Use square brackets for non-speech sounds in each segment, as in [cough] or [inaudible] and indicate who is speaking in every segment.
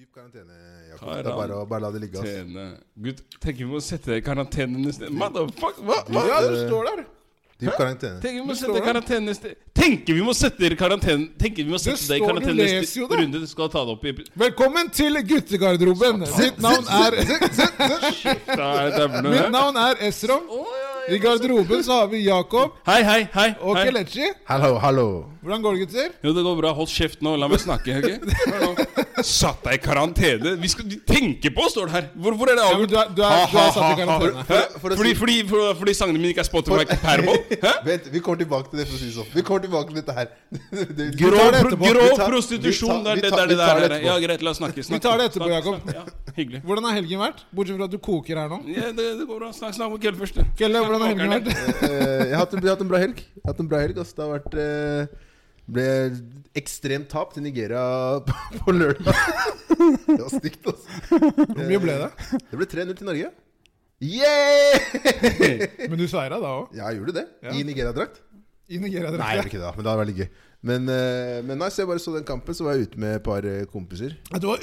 Speaker 1: karantene, Jakob.
Speaker 2: Haram.
Speaker 1: Det er bare å bare la det ligge. ass.
Speaker 2: Karantene. Gud, tenker vi må sette deg i karantene neste Motherfuck, hva? hva?
Speaker 3: Ja, det står der!
Speaker 1: Eh, Dyp karantene.
Speaker 2: Tenker vi må
Speaker 3: Det
Speaker 2: sette
Speaker 3: står
Speaker 2: deg i
Speaker 3: der.
Speaker 2: karantene neste Tenker vi må sette deg i karantene Tenker vi må sette deg i
Speaker 3: står- du
Speaker 2: karantene
Speaker 3: leser
Speaker 2: neste
Speaker 3: jo det.
Speaker 2: runde? Du skal ta det opp i
Speaker 3: Velkommen til guttegarderoben. Mitt navn er,
Speaker 2: Da
Speaker 3: [laughs]
Speaker 2: er det
Speaker 3: mitt
Speaker 2: her.
Speaker 3: navn er Esrom. I garderoben så har vi Jakob
Speaker 2: Hei, hei, hei.
Speaker 3: og
Speaker 2: hei.
Speaker 3: Kelechi.
Speaker 1: Hallo, hallo.
Speaker 3: Hvordan går det, gutter?
Speaker 2: Jo, det går bra. Hold kjeft nå. La meg snakke. ok? Hør
Speaker 3: [laughs]
Speaker 2: nå. Satt deg i karantene? Vi skal de tenker på, står det her! Hvor, hvor er det
Speaker 3: Ja, men
Speaker 2: avgjort?
Speaker 3: du er, du er, du er satt i karantene.
Speaker 2: Hæ?
Speaker 1: For- for å si-
Speaker 2: Fordi, fordi, for- fordi sangene mine ikke er Spotify ikke
Speaker 3: [laughs]
Speaker 2: Permo? Hæ?
Speaker 1: Vent, vi kommer tilbake til det. for å si det sånn Vi kommer tilbake til dette her. [laughs] Det- det- vi
Speaker 2: Grå,
Speaker 1: tar det
Speaker 2: pro,
Speaker 1: etterpå.
Speaker 2: grå
Speaker 1: Vi tar-
Speaker 2: prostitusjon. Det
Speaker 1: vi
Speaker 2: er det
Speaker 1: tar-
Speaker 2: der.
Speaker 1: vi
Speaker 2: det
Speaker 1: tar
Speaker 2: der,
Speaker 1: det
Speaker 2: der.
Speaker 1: etterpå.
Speaker 2: Ja, greit. La oss snakke. snakke.
Speaker 3: tar det etterpå,
Speaker 2: Snakk,
Speaker 3: Jakob.
Speaker 2: snakk, Ja, hyggelig.
Speaker 3: Hvordan har helgen vært? Bortsett fra at du koker her nå.
Speaker 2: Ja, det, det går bra. Snakk, snakk om Kjell først.
Speaker 3: Kelle, hvordan har helgen vært?
Speaker 1: Eh, jeg har hatt en, jeg har hatt en bra helg. Jeg har hatt en bra helg ass. Det har vært eh, ble ekstremt tap til Nigeria [laughs] på lørdag. Det var stygt, altså.
Speaker 3: Hvor mye ble det?
Speaker 1: Det ble 3-0 til Norge.
Speaker 2: [laughs]
Speaker 1: Yeah!
Speaker 3: Men du seira da òg.
Speaker 1: Ja, jeg gjorde det.
Speaker 3: Ja.
Speaker 1: I Nigeria-drakt.
Speaker 3: I Nigeria.
Speaker 1: Nei, jeg gjorde ikke det, da, men det hadde vært litt gøy. Men, eh, men nei, så jeg bare så den kampen, så var jeg ute med et par eh, kompiser.
Speaker 3: Ja, Du var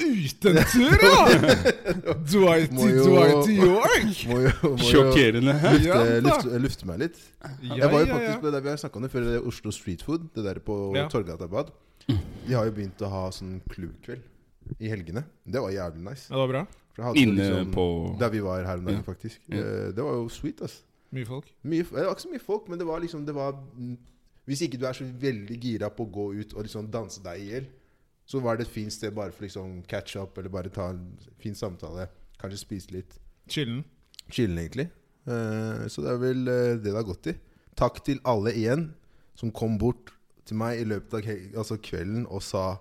Speaker 1: [laughs]
Speaker 3: ute en tur, ja! Dwight
Speaker 1: Må
Speaker 3: i
Speaker 1: jo-
Speaker 3: Dwight i York.
Speaker 1: Må jo, må jo lufte,
Speaker 2: Sjokkerende.
Speaker 3: Ja, da.
Speaker 1: lufte, lufte meg litt.
Speaker 3: Ja,
Speaker 1: Jeg var jo
Speaker 3: ja, ja.
Speaker 1: faktisk på det vi har snakket om det før, det er Oslo Street Food, det der på
Speaker 3: Ja.
Speaker 1: Torgata Bad. De har jo begynt å ha sånn klubbkveld i helgene. Det var jævlig nice.
Speaker 3: Ja, det var bra.
Speaker 1: For jeg hadde
Speaker 2: Inne
Speaker 1: liksom-
Speaker 2: på
Speaker 1: Der vi var her om dagen,
Speaker 2: Ja.
Speaker 1: faktisk.
Speaker 2: Ja.
Speaker 1: Eh, Det var jo sweet, ass.
Speaker 3: Mye folk.
Speaker 1: Mye, f- det var ikke så mye folk, men det var liksom det var, mm, Hvis ikke du er så veldig gira på å gå ut og liksom danse deg i hjel, så var det et fint sted bare for liksom catch up, eller bare ta en fin samtale. Kanskje spise litt.
Speaker 3: Chillen.
Speaker 1: Chillen, egentlig. Eh, så det er vel eh, det det har gått i. Takk til alle igjen som kom bort til meg i løpet av hel- altså kvelden og sa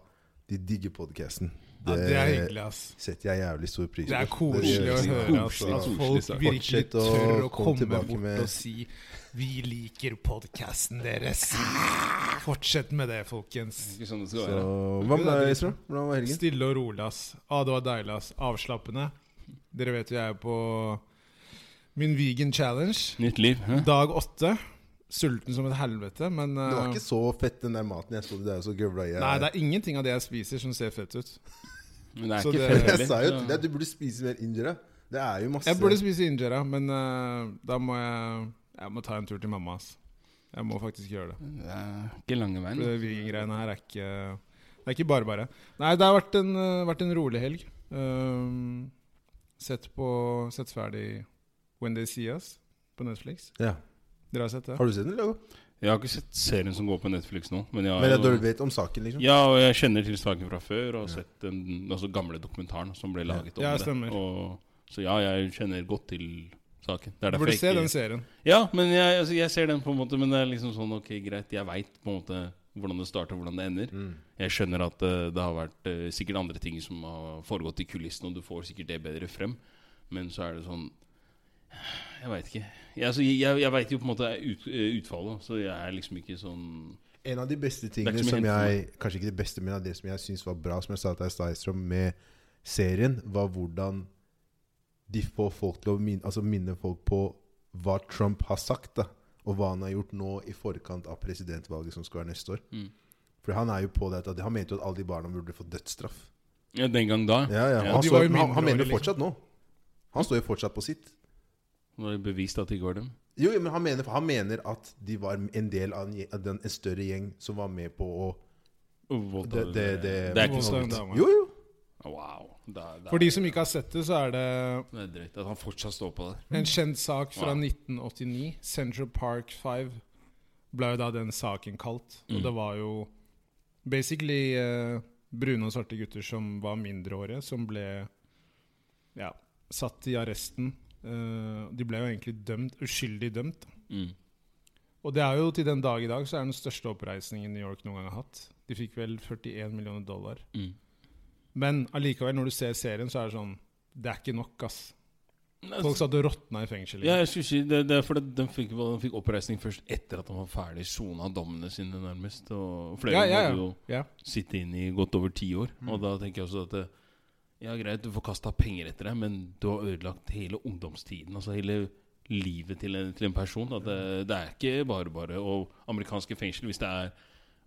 Speaker 1: de digger podkasten.
Speaker 3: Ja, det er hyggelig, ass.
Speaker 1: setter jeg jævlig stor pris på.
Speaker 3: Det er koselig å
Speaker 1: gjør jeg.
Speaker 3: høre altså,
Speaker 2: Koselig,
Speaker 3: at
Speaker 2: koselig,
Speaker 3: folk
Speaker 2: så.
Speaker 3: virkelig
Speaker 1: Fortsett å
Speaker 3: tør å
Speaker 1: komme
Speaker 3: komme
Speaker 1: tilbake
Speaker 3: bort
Speaker 1: med-
Speaker 3: og si 'Vi liker podkasten deres'. Fortsett med det, folkens.
Speaker 2: Ikke sånn det skal
Speaker 1: Så,
Speaker 2: være.
Speaker 1: hva med deg, Isra? Hvordan var helgen?
Speaker 3: Stille og rolig, ass. Ah, det var deilig, ass. Avslappende. Dere vet jo jeg er på min vegan challenge.
Speaker 2: Nytt liv. Hæ?
Speaker 3: Dag åtte. Sulten som et helvete, men
Speaker 1: Det var
Speaker 3: eh,
Speaker 1: ikke så fett, den der maten jeg så der og så grøvla i.
Speaker 3: Nei,
Speaker 1: [laughs]
Speaker 3: det er ingenting av det jeg spiser, som ser fett ut.
Speaker 2: Men det er
Speaker 3: Så
Speaker 2: ikke
Speaker 1: [laughs]
Speaker 3: det-
Speaker 2: feil
Speaker 1: Jeg sa jo
Speaker 2: heller.
Speaker 1: til deg at du burde spise mer injera. Det er jo masse
Speaker 3: Jeg burde spise injera, men eh, da må jeg Jeg må ta en tur til mamma, ass. Jeg må faktisk gjøre det.
Speaker 2: Det er ikke lange veien.
Speaker 3: For det Viking-greiene her er ikke Det er ikke bare bare. Nei, det har vært en, eh, vært en rolig helg. Um, sett på Sett ferdig When They See Us på Netflix.
Speaker 1: Ja.
Speaker 3: Dere har sett det?
Speaker 1: Har du sett den, Lago?
Speaker 2: Jeg har ikke sett serien som går på Netflix nå. Men jeg, har
Speaker 1: Men jeg
Speaker 2: jo-
Speaker 1: dårlig vet om saken, liksom.
Speaker 2: Ja, og jeg kjenner til saken fra før og har sett den altså, gamle dokumentaren som ble laget om
Speaker 3: Ja,
Speaker 2: det.
Speaker 3: stemmer.
Speaker 2: Og, så ja, jeg kjenner godt til saken. Det er
Speaker 3: Du
Speaker 2: derfor
Speaker 3: burde
Speaker 2: jeg
Speaker 3: se
Speaker 2: ikke
Speaker 3: den serien.
Speaker 2: Ja, men jeg, altså, jeg ser den på en måte, men det er liksom sånn ok, greit, jeg veit på en måte hvordan det starter og hvordan det ender.
Speaker 1: Mm.
Speaker 2: Jeg skjønner at eh, det har vært eh, sikkert andre ting som har foregått i kulissene, og du får sikkert det bedre frem, men så er det sånn Jeg veit ikke. Jeg, altså, jeg, jeg veit jo på en måte ut, eh, utfallet, så jeg er liksom ikke sånn
Speaker 1: En av de beste
Speaker 2: Det
Speaker 1: tingene
Speaker 2: er ikke så
Speaker 1: som
Speaker 2: mye
Speaker 1: jeg Kanskje ikke det beste, men av det som jeg syns var bra, som jeg sa til deg i stad, Estrom, med serien, var hvordan de får folk til å minne, altså minne folk på hva Trump har sagt, da. Og hva han har gjort nå i forkant av presidentvalget som skal være neste år.
Speaker 2: Mm.
Speaker 1: For han er jo på det at han mente jo at alle de barna burde få dødsstraff.
Speaker 2: Ja, den gang da.
Speaker 1: Ja, ja.
Speaker 2: Ja,
Speaker 1: Han,
Speaker 3: de
Speaker 1: står,
Speaker 3: var jo
Speaker 1: han, han,
Speaker 3: mindreårige,
Speaker 1: mener jo
Speaker 3: liksom.
Speaker 1: fortsatt nå. Han står jo fortsatt på sitt.
Speaker 2: Nå er det bevist at det går dem.
Speaker 1: Jo, jo, men han mener, han mener at de var en del av en, gje- av den, en større gjeng som var med på å
Speaker 2: Voldta-
Speaker 1: Det- det- det-
Speaker 2: det er ikke
Speaker 3: Voldta en
Speaker 2: sant.
Speaker 3: dame.
Speaker 1: Jo, jo.
Speaker 2: Wow. Det er, det
Speaker 3: For
Speaker 2: er,
Speaker 3: de som ikke har sett det, så er det
Speaker 2: det er drøyt at han fortsatt står på der.
Speaker 3: en kjent sak fra
Speaker 2: Wow.
Speaker 3: 1989. Central Park 5 ble jo da den saken kalt.
Speaker 2: Mm.
Speaker 3: Og det var jo basically eh, brune og svarte gutter som var mindreårige, som ble ja, satt i arresten. Eh, de ble jo egentlig dømt, uskyldig dømt.
Speaker 2: Mm.
Speaker 3: Og det er jo til den dag i dag så er det den største oppreisningen New York noen gang har hatt. De fikk vel 41 millioner dollar.
Speaker 2: Mm.
Speaker 3: Men allikevel, når du ser serien, så er det sånn Det er ikke nok, ass.
Speaker 2: Nei,
Speaker 3: Folk satt og råtna i fengsel.
Speaker 2: Altså- Ja, jeg skulle si det, det er fordi de fikk, de fikk oppreisning først etter at han var ferdig sona dommene sine, nærmest. Og flere
Speaker 3: Ja, ja, ja. Mm.
Speaker 2: måtte jo
Speaker 3: Ja.
Speaker 2: sitte inne i godt over ti år. Og da tenker jeg også at eh, Ja, greit, du får kasta penger etter deg, men du har ødelagt hele ungdomstiden. Altså hele livet til en, til en person. At det, det er ikke bare bare. Og amerikanske fengsel, hvis det er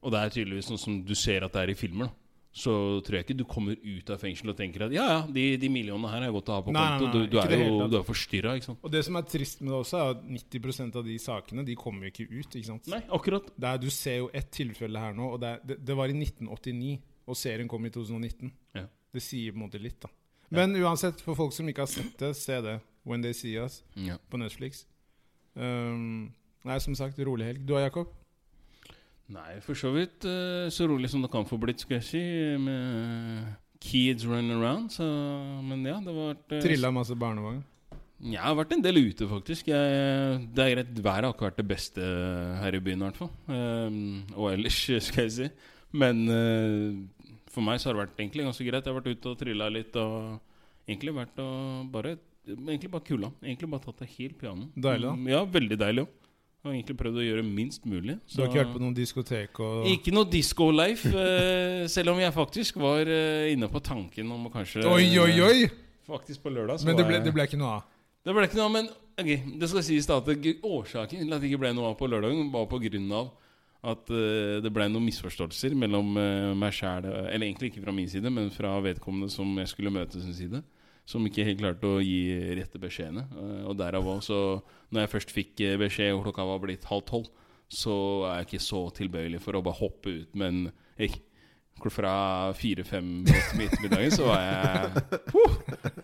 Speaker 2: Og det er tydeligvis sånn som du ser at det er i filmer. da så tror jeg ikke du kommer ut av fengsel og tenker at ja, ja, de, de millionene her har jeg godt å ha på
Speaker 3: Nei, nei,
Speaker 2: konto.
Speaker 3: nei,
Speaker 2: Du, du
Speaker 3: ikke
Speaker 2: er
Speaker 3: det hele
Speaker 2: jo
Speaker 3: tatt.
Speaker 2: du er forstyrra, ikke sant.
Speaker 3: Og det som er trist med det også, er at 90 av de sakene de kommer jo ikke ut. ikke sant?
Speaker 2: Nei, akkurat.
Speaker 3: Det er, du ser jo ett tilfelle her nå, og det, er, det, det var i 1989, og serien kom i 2019.
Speaker 2: Ja.
Speaker 3: Det sier på en måte litt, da. Men uansett, for folk som ikke har sett det, se det. When They See Us
Speaker 2: Ja.
Speaker 3: på Netflix. Um, nei, som sagt, rolig helg. Du og Jakob?
Speaker 2: Nei, for så vidt eh, så rolig som det kan få blitt, skal jeg si. Med kids running around. Så, men ja, det var
Speaker 3: Trilla masse barnevogn.
Speaker 2: Jeg har vært en del ute, faktisk. Jeg, det er greit, Været har ikke vært det beste her i byen, i hvert fall. Ehm, og ellers, [laughs] skal jeg si. Men eh, for meg så har det vært egentlig ganske greit. Jeg har vært ute og trilla litt og egentlig vært og bare Egentlig bare kula. Egentlig bare tatt det helt piano.
Speaker 3: Deilig, da.
Speaker 2: Mm, Ja, veldig deilig òg. Og egentlig prøvd å gjøre minst mulig.
Speaker 3: Du har ikke vært på noen diskotek og
Speaker 2: Ikke noe disco-life, eh, selv om jeg faktisk var eh, inne på tanken om å kanskje eh,
Speaker 3: Oi, oi, oi!
Speaker 2: Faktisk på lørdag så
Speaker 3: Men det
Speaker 2: var
Speaker 3: ble,
Speaker 2: jeg-
Speaker 3: det ble ikke noe av.
Speaker 2: det ble ikke noe av, men ok, det skal sies da at det- årsaken til at det ikke ble noe av på lørdagen, var på grunn av at eh, det ble noen misforståelser mellom eh, meg sjæl Eller egentlig ikke fra min side, men fra vedkommende som jeg skulle møte sin side. Som ikke helt klarte å gi rette beskjedene. Eh, og derav også, når jeg først fikk eh, beskjed og klokka var blitt halv tolv, så er jeg ikke så tilbøyelig for å bare hoppe ut, men jeg, fra fire-fem på ettermiddagen så var jeg Huh!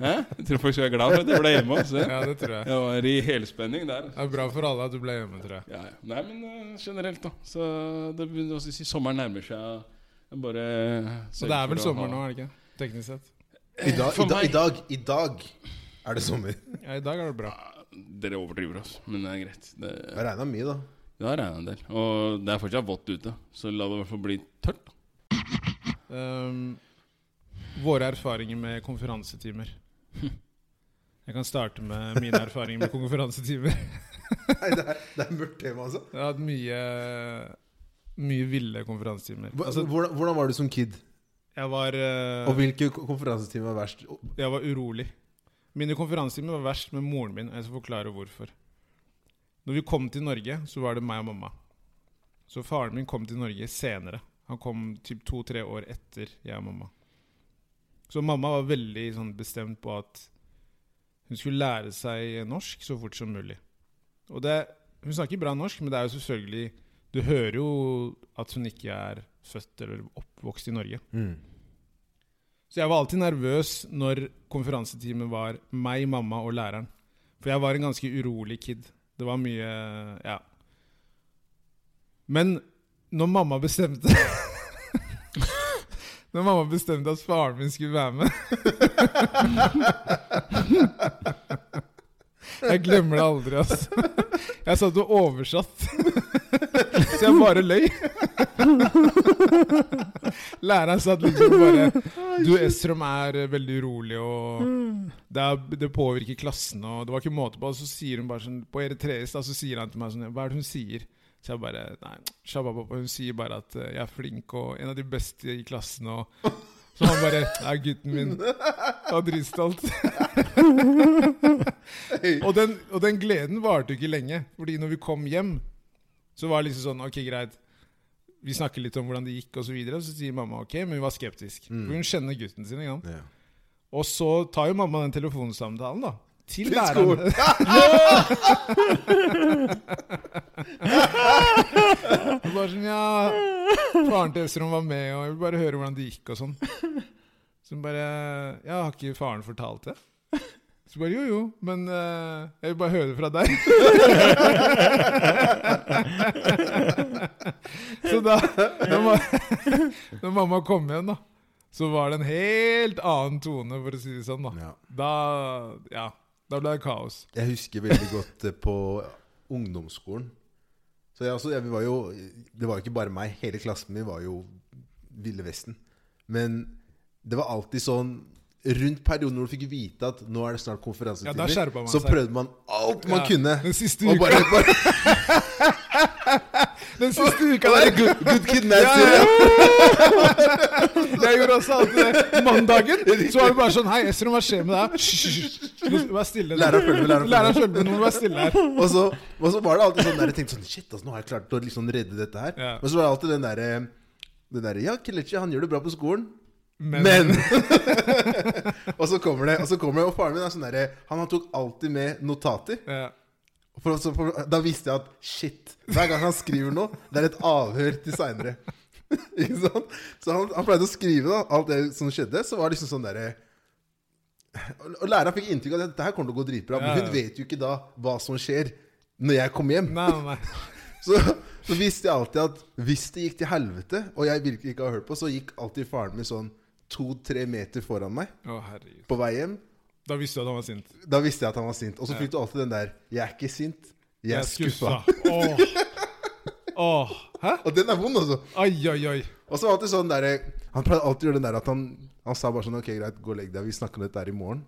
Speaker 2: Hæ? Jeg tror folk skal være glad for at jeg ble hjemme. Altså.
Speaker 3: Ja, det tror jeg.
Speaker 2: Jeg var i helspenning der.
Speaker 3: Det er bra for alle at du ble hjemme,
Speaker 2: [laughs]
Speaker 3: tror jeg.
Speaker 2: Ja, ja. Nei, men eh, generelt, da. Så det, begynner- hva skal jeg si, sommeren nærmer seg. Jeg bare
Speaker 3: Så det er vel sommer nå, er det ikke? Teknisk sett.
Speaker 1: I dag,
Speaker 2: For
Speaker 1: i, da,
Speaker 2: meg-
Speaker 1: I dag I dag er det sommer.
Speaker 3: Ja, i dag er det bra.
Speaker 2: Dere overdriver oss, men det er greit. Det,
Speaker 1: Det regna mye, [laughs] da.
Speaker 2: det har regna en del. Og det er fortsatt vått ute, så la det i hvert fall bli tørt.
Speaker 3: Ehm, våre erfaringer med konferansetimer. Jeg kan starte med mine erfaringer med konferansetimer.
Speaker 1: Nei, det er, det er mørkt tema, altså.
Speaker 3: Jeg har hatt mye Mye ville konferansetimer.
Speaker 1: Hva-
Speaker 3: Altså,
Speaker 1: Hvordan, hvordan var du som kid?
Speaker 3: jeg var eh,
Speaker 1: Og hvilke ko- konferansetimer var verst? Og-
Speaker 3: Jeg var urolig. Mine konferansetimer var verst med moren min, og jeg skal forklare hvorfor. Når vi kom til Norge, så var det meg og mamma. Så faren min kom til Norge senere. Han kom typ to-tre år etter jeg og mamma. Så mamma var veldig sånn bestemt på at hun skulle lære seg norsk så fort som mulig. Og det, hun snakker bra norsk, men det er jo selvfølgelig Du hører jo at hun ikke er født eller oppvokst i Norge.
Speaker 1: Mm.
Speaker 3: Så jeg var alltid nervøs når konferansetimen var meg, mamma og læreren. For jeg var en ganske urolig kid. Det var mye Ja. Men når mamma bestemte [laughs] Når mamma bestemte at faren min skulle være med [laughs] Jeg glemmer det aldri, altså. Jeg satt og oversatt. Så jeg bare løy. [laughs] Læreren satt liksom bare du, Estrom er eh, veldig urolig, og det, er, det påvirker klassen. Og det var ikke måte på. Og så sier hun bare sånn På eritreisk da, så sier han til meg sånn Hva er det hun sier? Så jeg bare Nei, shabababa. Hun sier bare at eh, jeg er flink og en av de beste i klassen. Og så han bare Nei, gutten min. Jeg var dritstolt. og, den, og den gleden varte jo ikke lenge. Fordi når vi kom hjem, så var det liksom sånn Ok, greit. Vi snakker litt om hvordan det gikk, og så videre. Og så sier mamma ok, men hun var skeptisk. For hun kjenner gutten sin. ikke sant?
Speaker 1: Ja.
Speaker 3: Og så tar jo mamma den telefonsamtalen, da. Til
Speaker 1: Til
Speaker 3: [laughs] læreren. Og bare sånn, ja Faren til Østrom var med, og jeg vil bare høre hvordan det gikk, og sånn. Så hun bare Ja, har ikke faren fortalt det? Så bare jo, jo, men eh, jeg vil bare høre det fra deg. så da når, ma når mamma kom igjen, da, så var det en helt annen tone, for å si det sånn, da.
Speaker 1: Ja.
Speaker 3: Da, ja, da ble det kaos.
Speaker 1: Jeg husker veldig godt eh, på ungdomsskolen. Så jeg, også, jeg, vi var jo, det var jo ikke bare meg. Hele klassen min var jo Ville Vesten. Men det var alltid sånn Rundt perioden hvor du fikk vite at nå er det snart
Speaker 3: Ja, da
Speaker 1: konferansetimer,
Speaker 3: skjerpa man
Speaker 1: så
Speaker 3: seg.
Speaker 1: prøvde man alt man
Speaker 3: Ja,
Speaker 1: kunne.
Speaker 3: den siste
Speaker 1: Og
Speaker 3: uka.
Speaker 1: bare, bare,
Speaker 3: Den siste uka
Speaker 1: bare
Speaker 3: der
Speaker 1: good, good kid
Speaker 3: Ja,
Speaker 1: Nancy.
Speaker 3: ja, Jeg gjorde også alltid det. Mandagen så var det bare sånn Hei, Estrom, hva skjer med deg? Hysj, hysj, Vær stille. nå.
Speaker 1: Læreren følger med, læreren følger med.
Speaker 3: Læreren følger med. Nå må du være stille her.
Speaker 1: Og, så, og så var det alltid sånn der jeg tenkte sånn Shit, altså, nå har jeg klart å liksom redde dette her.
Speaker 3: Ja.
Speaker 1: Men så var det alltid den derre Det derre Ja, Kelechi, han gjør det bra på skolen.
Speaker 3: Men, [laughs]
Speaker 1: Men! og så kommer det, og så kommer det Og faren min er sånn derre Han han tok alltid med notater.
Speaker 3: Ja.
Speaker 1: For, så- for, da visste jeg at shit, hver gang han skriver noe, det er et avhør til seinere. [laughs] Ikke sant? Så han, han pleide å skrive da alt det som skjedde. Så var det liksom sånn derre Og og læreren fikk inntrykk av at dette her kommer til å gå dritbra.
Speaker 3: Ja,
Speaker 1: Men
Speaker 3: ja.
Speaker 1: hun vet jo ikke da hva som skjer når jeg kommer hjem.
Speaker 3: Nei, nei.
Speaker 1: Så, så visste jeg alltid at hvis det gikk til helvete, og jeg virkelig ikke har hørt på, så gikk alltid faren min sånn to-tre meter foran meg
Speaker 3: Å, herregud.
Speaker 1: på vei hjem.
Speaker 3: Da visste du at han var sint.
Speaker 1: Da visste jeg at han var sint. Og så fikk du alltid den der 'Jeg er ikke sint, jeg er skuffa'.
Speaker 3: Åh. Åh. Hæ?
Speaker 1: Og den er vond, altså.
Speaker 3: Oi, oi, oi.
Speaker 1: Og så var det alltid sånn der, Han pleide alltid å gjøre den der at han, han sa bare sånn Ok, greit, gå og legg deg. Vi snakker om dette her i morgen.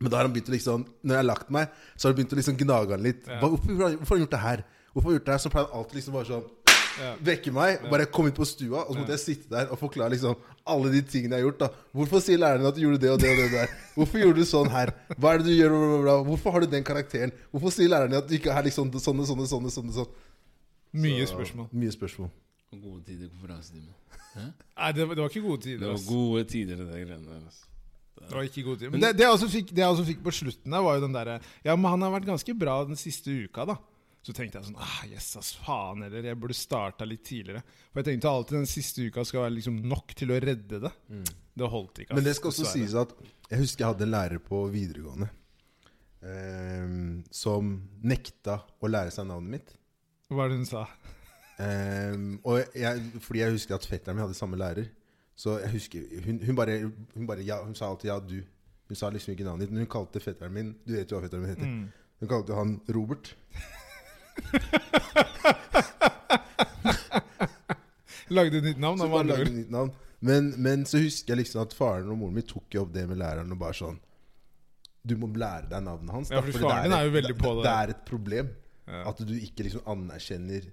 Speaker 1: Men da har han begynt å liksom Når jeg har lagt meg, så har han begynt å liksom gnage han litt. Hva, hvorfor, hvorfor har han gjort det her? Hvorfor har han gjort det her? Så pleier han alltid liksom bare sånn
Speaker 3: Ja.
Speaker 1: Vekke meg, og bare komme ut på stua, og så måtte jeg sitte der og forklare liksom alle de tingene jeg har gjort. da Hvorfor sier læreren din at du gjorde det og det og det der? Hvorfor gjorde du sånn her? Hva er det du gjør? Bla, bla, bla. Hvorfor har du den karakteren? Hvorfor sier læreren din at du ikke er liksom sånne, sånne, sånne? sånne, sånne?
Speaker 3: Mye spørsmål.
Speaker 1: sånn Mye spørsmål.
Speaker 2: Gode tider konferansetime.
Speaker 3: Nei, det, var- det var ikke gode tider.
Speaker 2: Det var
Speaker 3: ass.
Speaker 2: gode tider, det der greiene der. Altså.
Speaker 3: Det var ikke gode tider. Men det, det, jeg også fikk, det jeg også fikk på slutten der, var jo den derre Ja, men han har vært ganske bra den siste uka, da. Så tenkte jeg sånn ah, Yes, ass, faen heller. Jeg burde starta litt tidligere. For jeg tenkte alltid den siste uka skal være liksom nok til å redde det. Det holdt ikke.
Speaker 1: Mm.
Speaker 3: ass,
Speaker 1: Men det skal også
Speaker 3: dessverre.
Speaker 1: sies at jeg husker jeg hadde en lærer på videregående eh, som nekta å lære seg navnet mitt.
Speaker 3: Hva var det hun sa?
Speaker 1: [laughs] Eh, og jeg, fordi jeg husker at fetteren min hadde samme lærer. Så jeg husker, hun, hun, bare, hun, bare, ja, hun sa alltid 'ja, du'. Hun sa liksom ikke navnet ditt, men hun kalte fetteren min Du vet jo hva fetteren min
Speaker 3: Mm.
Speaker 1: heter. Hun kalte jo han Robert.
Speaker 3: Lagde nytt navn?
Speaker 1: Så
Speaker 3: av
Speaker 1: bare
Speaker 3: andre
Speaker 1: lagde
Speaker 3: ord.
Speaker 1: hun nytt navn. Men, men så husker jeg liksom at faren og moren min tok jo opp det med læreren og bare sånn Du må lære deg navnet hans.
Speaker 3: Ja, for
Speaker 1: fordi
Speaker 3: faren din er jo
Speaker 1: et-
Speaker 3: veldig på det.
Speaker 1: Det er et problem at du ikke liksom anerkjenner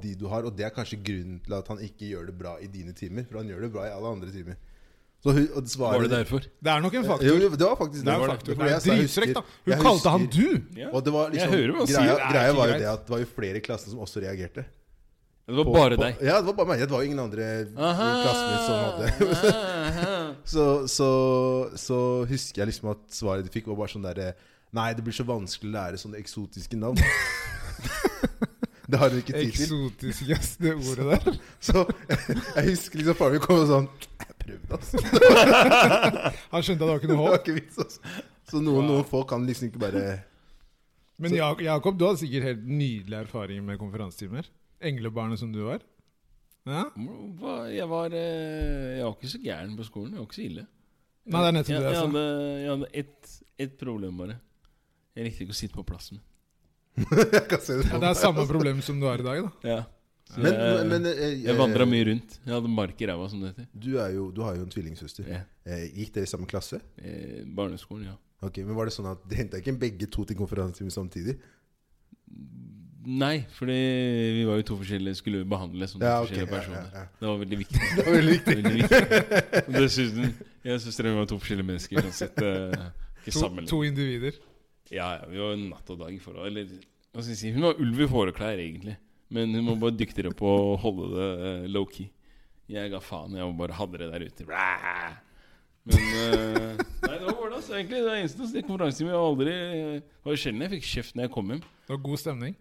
Speaker 1: de du har. Og det er kanskje grunnen til at han ikke gjør det bra i dine timer. For han gjør det bra i alle andre timer. Så hun, og svaret,
Speaker 2: Var det derfor?
Speaker 3: Det er nok en faktor.
Speaker 1: Jo, jo, det var faktisk det.
Speaker 3: det er
Speaker 1: var
Speaker 3: en
Speaker 1: faktisk
Speaker 3: faktor.
Speaker 1: fordi
Speaker 3: Det
Speaker 1: jeg
Speaker 3: er
Speaker 1: sa, jeg
Speaker 3: dritfrekt, da.
Speaker 1: husker-
Speaker 3: Hun
Speaker 1: jeg
Speaker 3: kalte han
Speaker 1: husker-
Speaker 3: du!
Speaker 1: Og det var liksom,
Speaker 2: Jeg hører hva han
Speaker 1: greia,
Speaker 2: sier.
Speaker 3: Det er
Speaker 1: greia
Speaker 3: ikke
Speaker 1: var jo
Speaker 3: greit.
Speaker 1: det at det var jo flere i klassen som også reagerte.
Speaker 2: Det var bare
Speaker 1: På-
Speaker 2: deg.
Speaker 1: Ja, det var bare meg. Det var jo ingen andre i klassen min som hadde [laughs]
Speaker 2: hadde
Speaker 1: så, så, så husker jeg liksom at svaret de fikk var bare sånn derre Nei, det blir så vanskelig å lære sånne eksotiske navn. [laughs] det har du ikke tid til.
Speaker 3: Eksotisk, ass, det ordet der.
Speaker 1: Så jeg husker liksom faren min kom og sånn Jeg prøvde, altså. Det
Speaker 3: Han skjønte at det var ikke noe
Speaker 1: var
Speaker 2: [laughs]
Speaker 3: håp.
Speaker 1: ikke vits, altså. Så noen, noen folk kan liksom ikke bare [laughs]
Speaker 3: Men Jak- Jakob, du hadde sikkert helt nydelig erfaring med konferansetimer. Englebarnet som du var. Ja?
Speaker 2: Hva- Jeg var eh, Jeg var ikke så gæren på skolen. Jeg var ikke så ille.
Speaker 3: Nei, det er nettopp
Speaker 2: Jeg,
Speaker 3: det
Speaker 2: jeg
Speaker 3: altså. jeg sa.
Speaker 2: hadde, jeg hadde ett et problem, bare. Jeg likte ikke å sitte på plassen.
Speaker 1: Jeg kan se det
Speaker 3: Ja,
Speaker 1: på
Speaker 3: det er
Speaker 1: meg.
Speaker 3: samme problem som du har i dag, da.
Speaker 2: Ja. Så
Speaker 1: Men,
Speaker 2: jeg,
Speaker 1: men eh,
Speaker 2: jeg vandra mye rundt. Jeg hadde mark i ræva, som det heter.
Speaker 1: Du, er jo, du har jo en tvillingsøster.
Speaker 2: Ja.
Speaker 1: Eh, Gikk dere i samme klasse?
Speaker 2: Eh, barneskolen, ja.
Speaker 1: Ok, men var det sånn at De henta ikke begge to til konferansetimen samtidig?
Speaker 2: Nei, fordi vi var jo to forskjellige skulle jo behandle som to
Speaker 1: Ja, ok,
Speaker 2: forskjellige
Speaker 1: ja, ja,
Speaker 2: personer.
Speaker 1: ja.
Speaker 2: Det var veldig viktig.
Speaker 1: Det var veldig viktig.
Speaker 2: Veldig viktig. Og Dessuten, jeg og søstera var to forskjellige mennesker. Uansett, eh, ikke
Speaker 3: To,
Speaker 2: sammen.
Speaker 3: to individer.
Speaker 2: Ja, ja, vi var natt og dag i forhold. Eller hva skal jeg si, hun var ulv i fåreklær, egentlig. Men hun var bare dyktigere på å holde det eh, low-key. Jeg ga faen, jeg bare hadde det der ute. Blæh! Men eh, Nei, det var hvordan, altså, egentlig. Det var eneste det konferansen min. Jeg var aldri Det var sjelden jeg fikk kjeft når jeg kom hjem.
Speaker 3: Det var god stemning.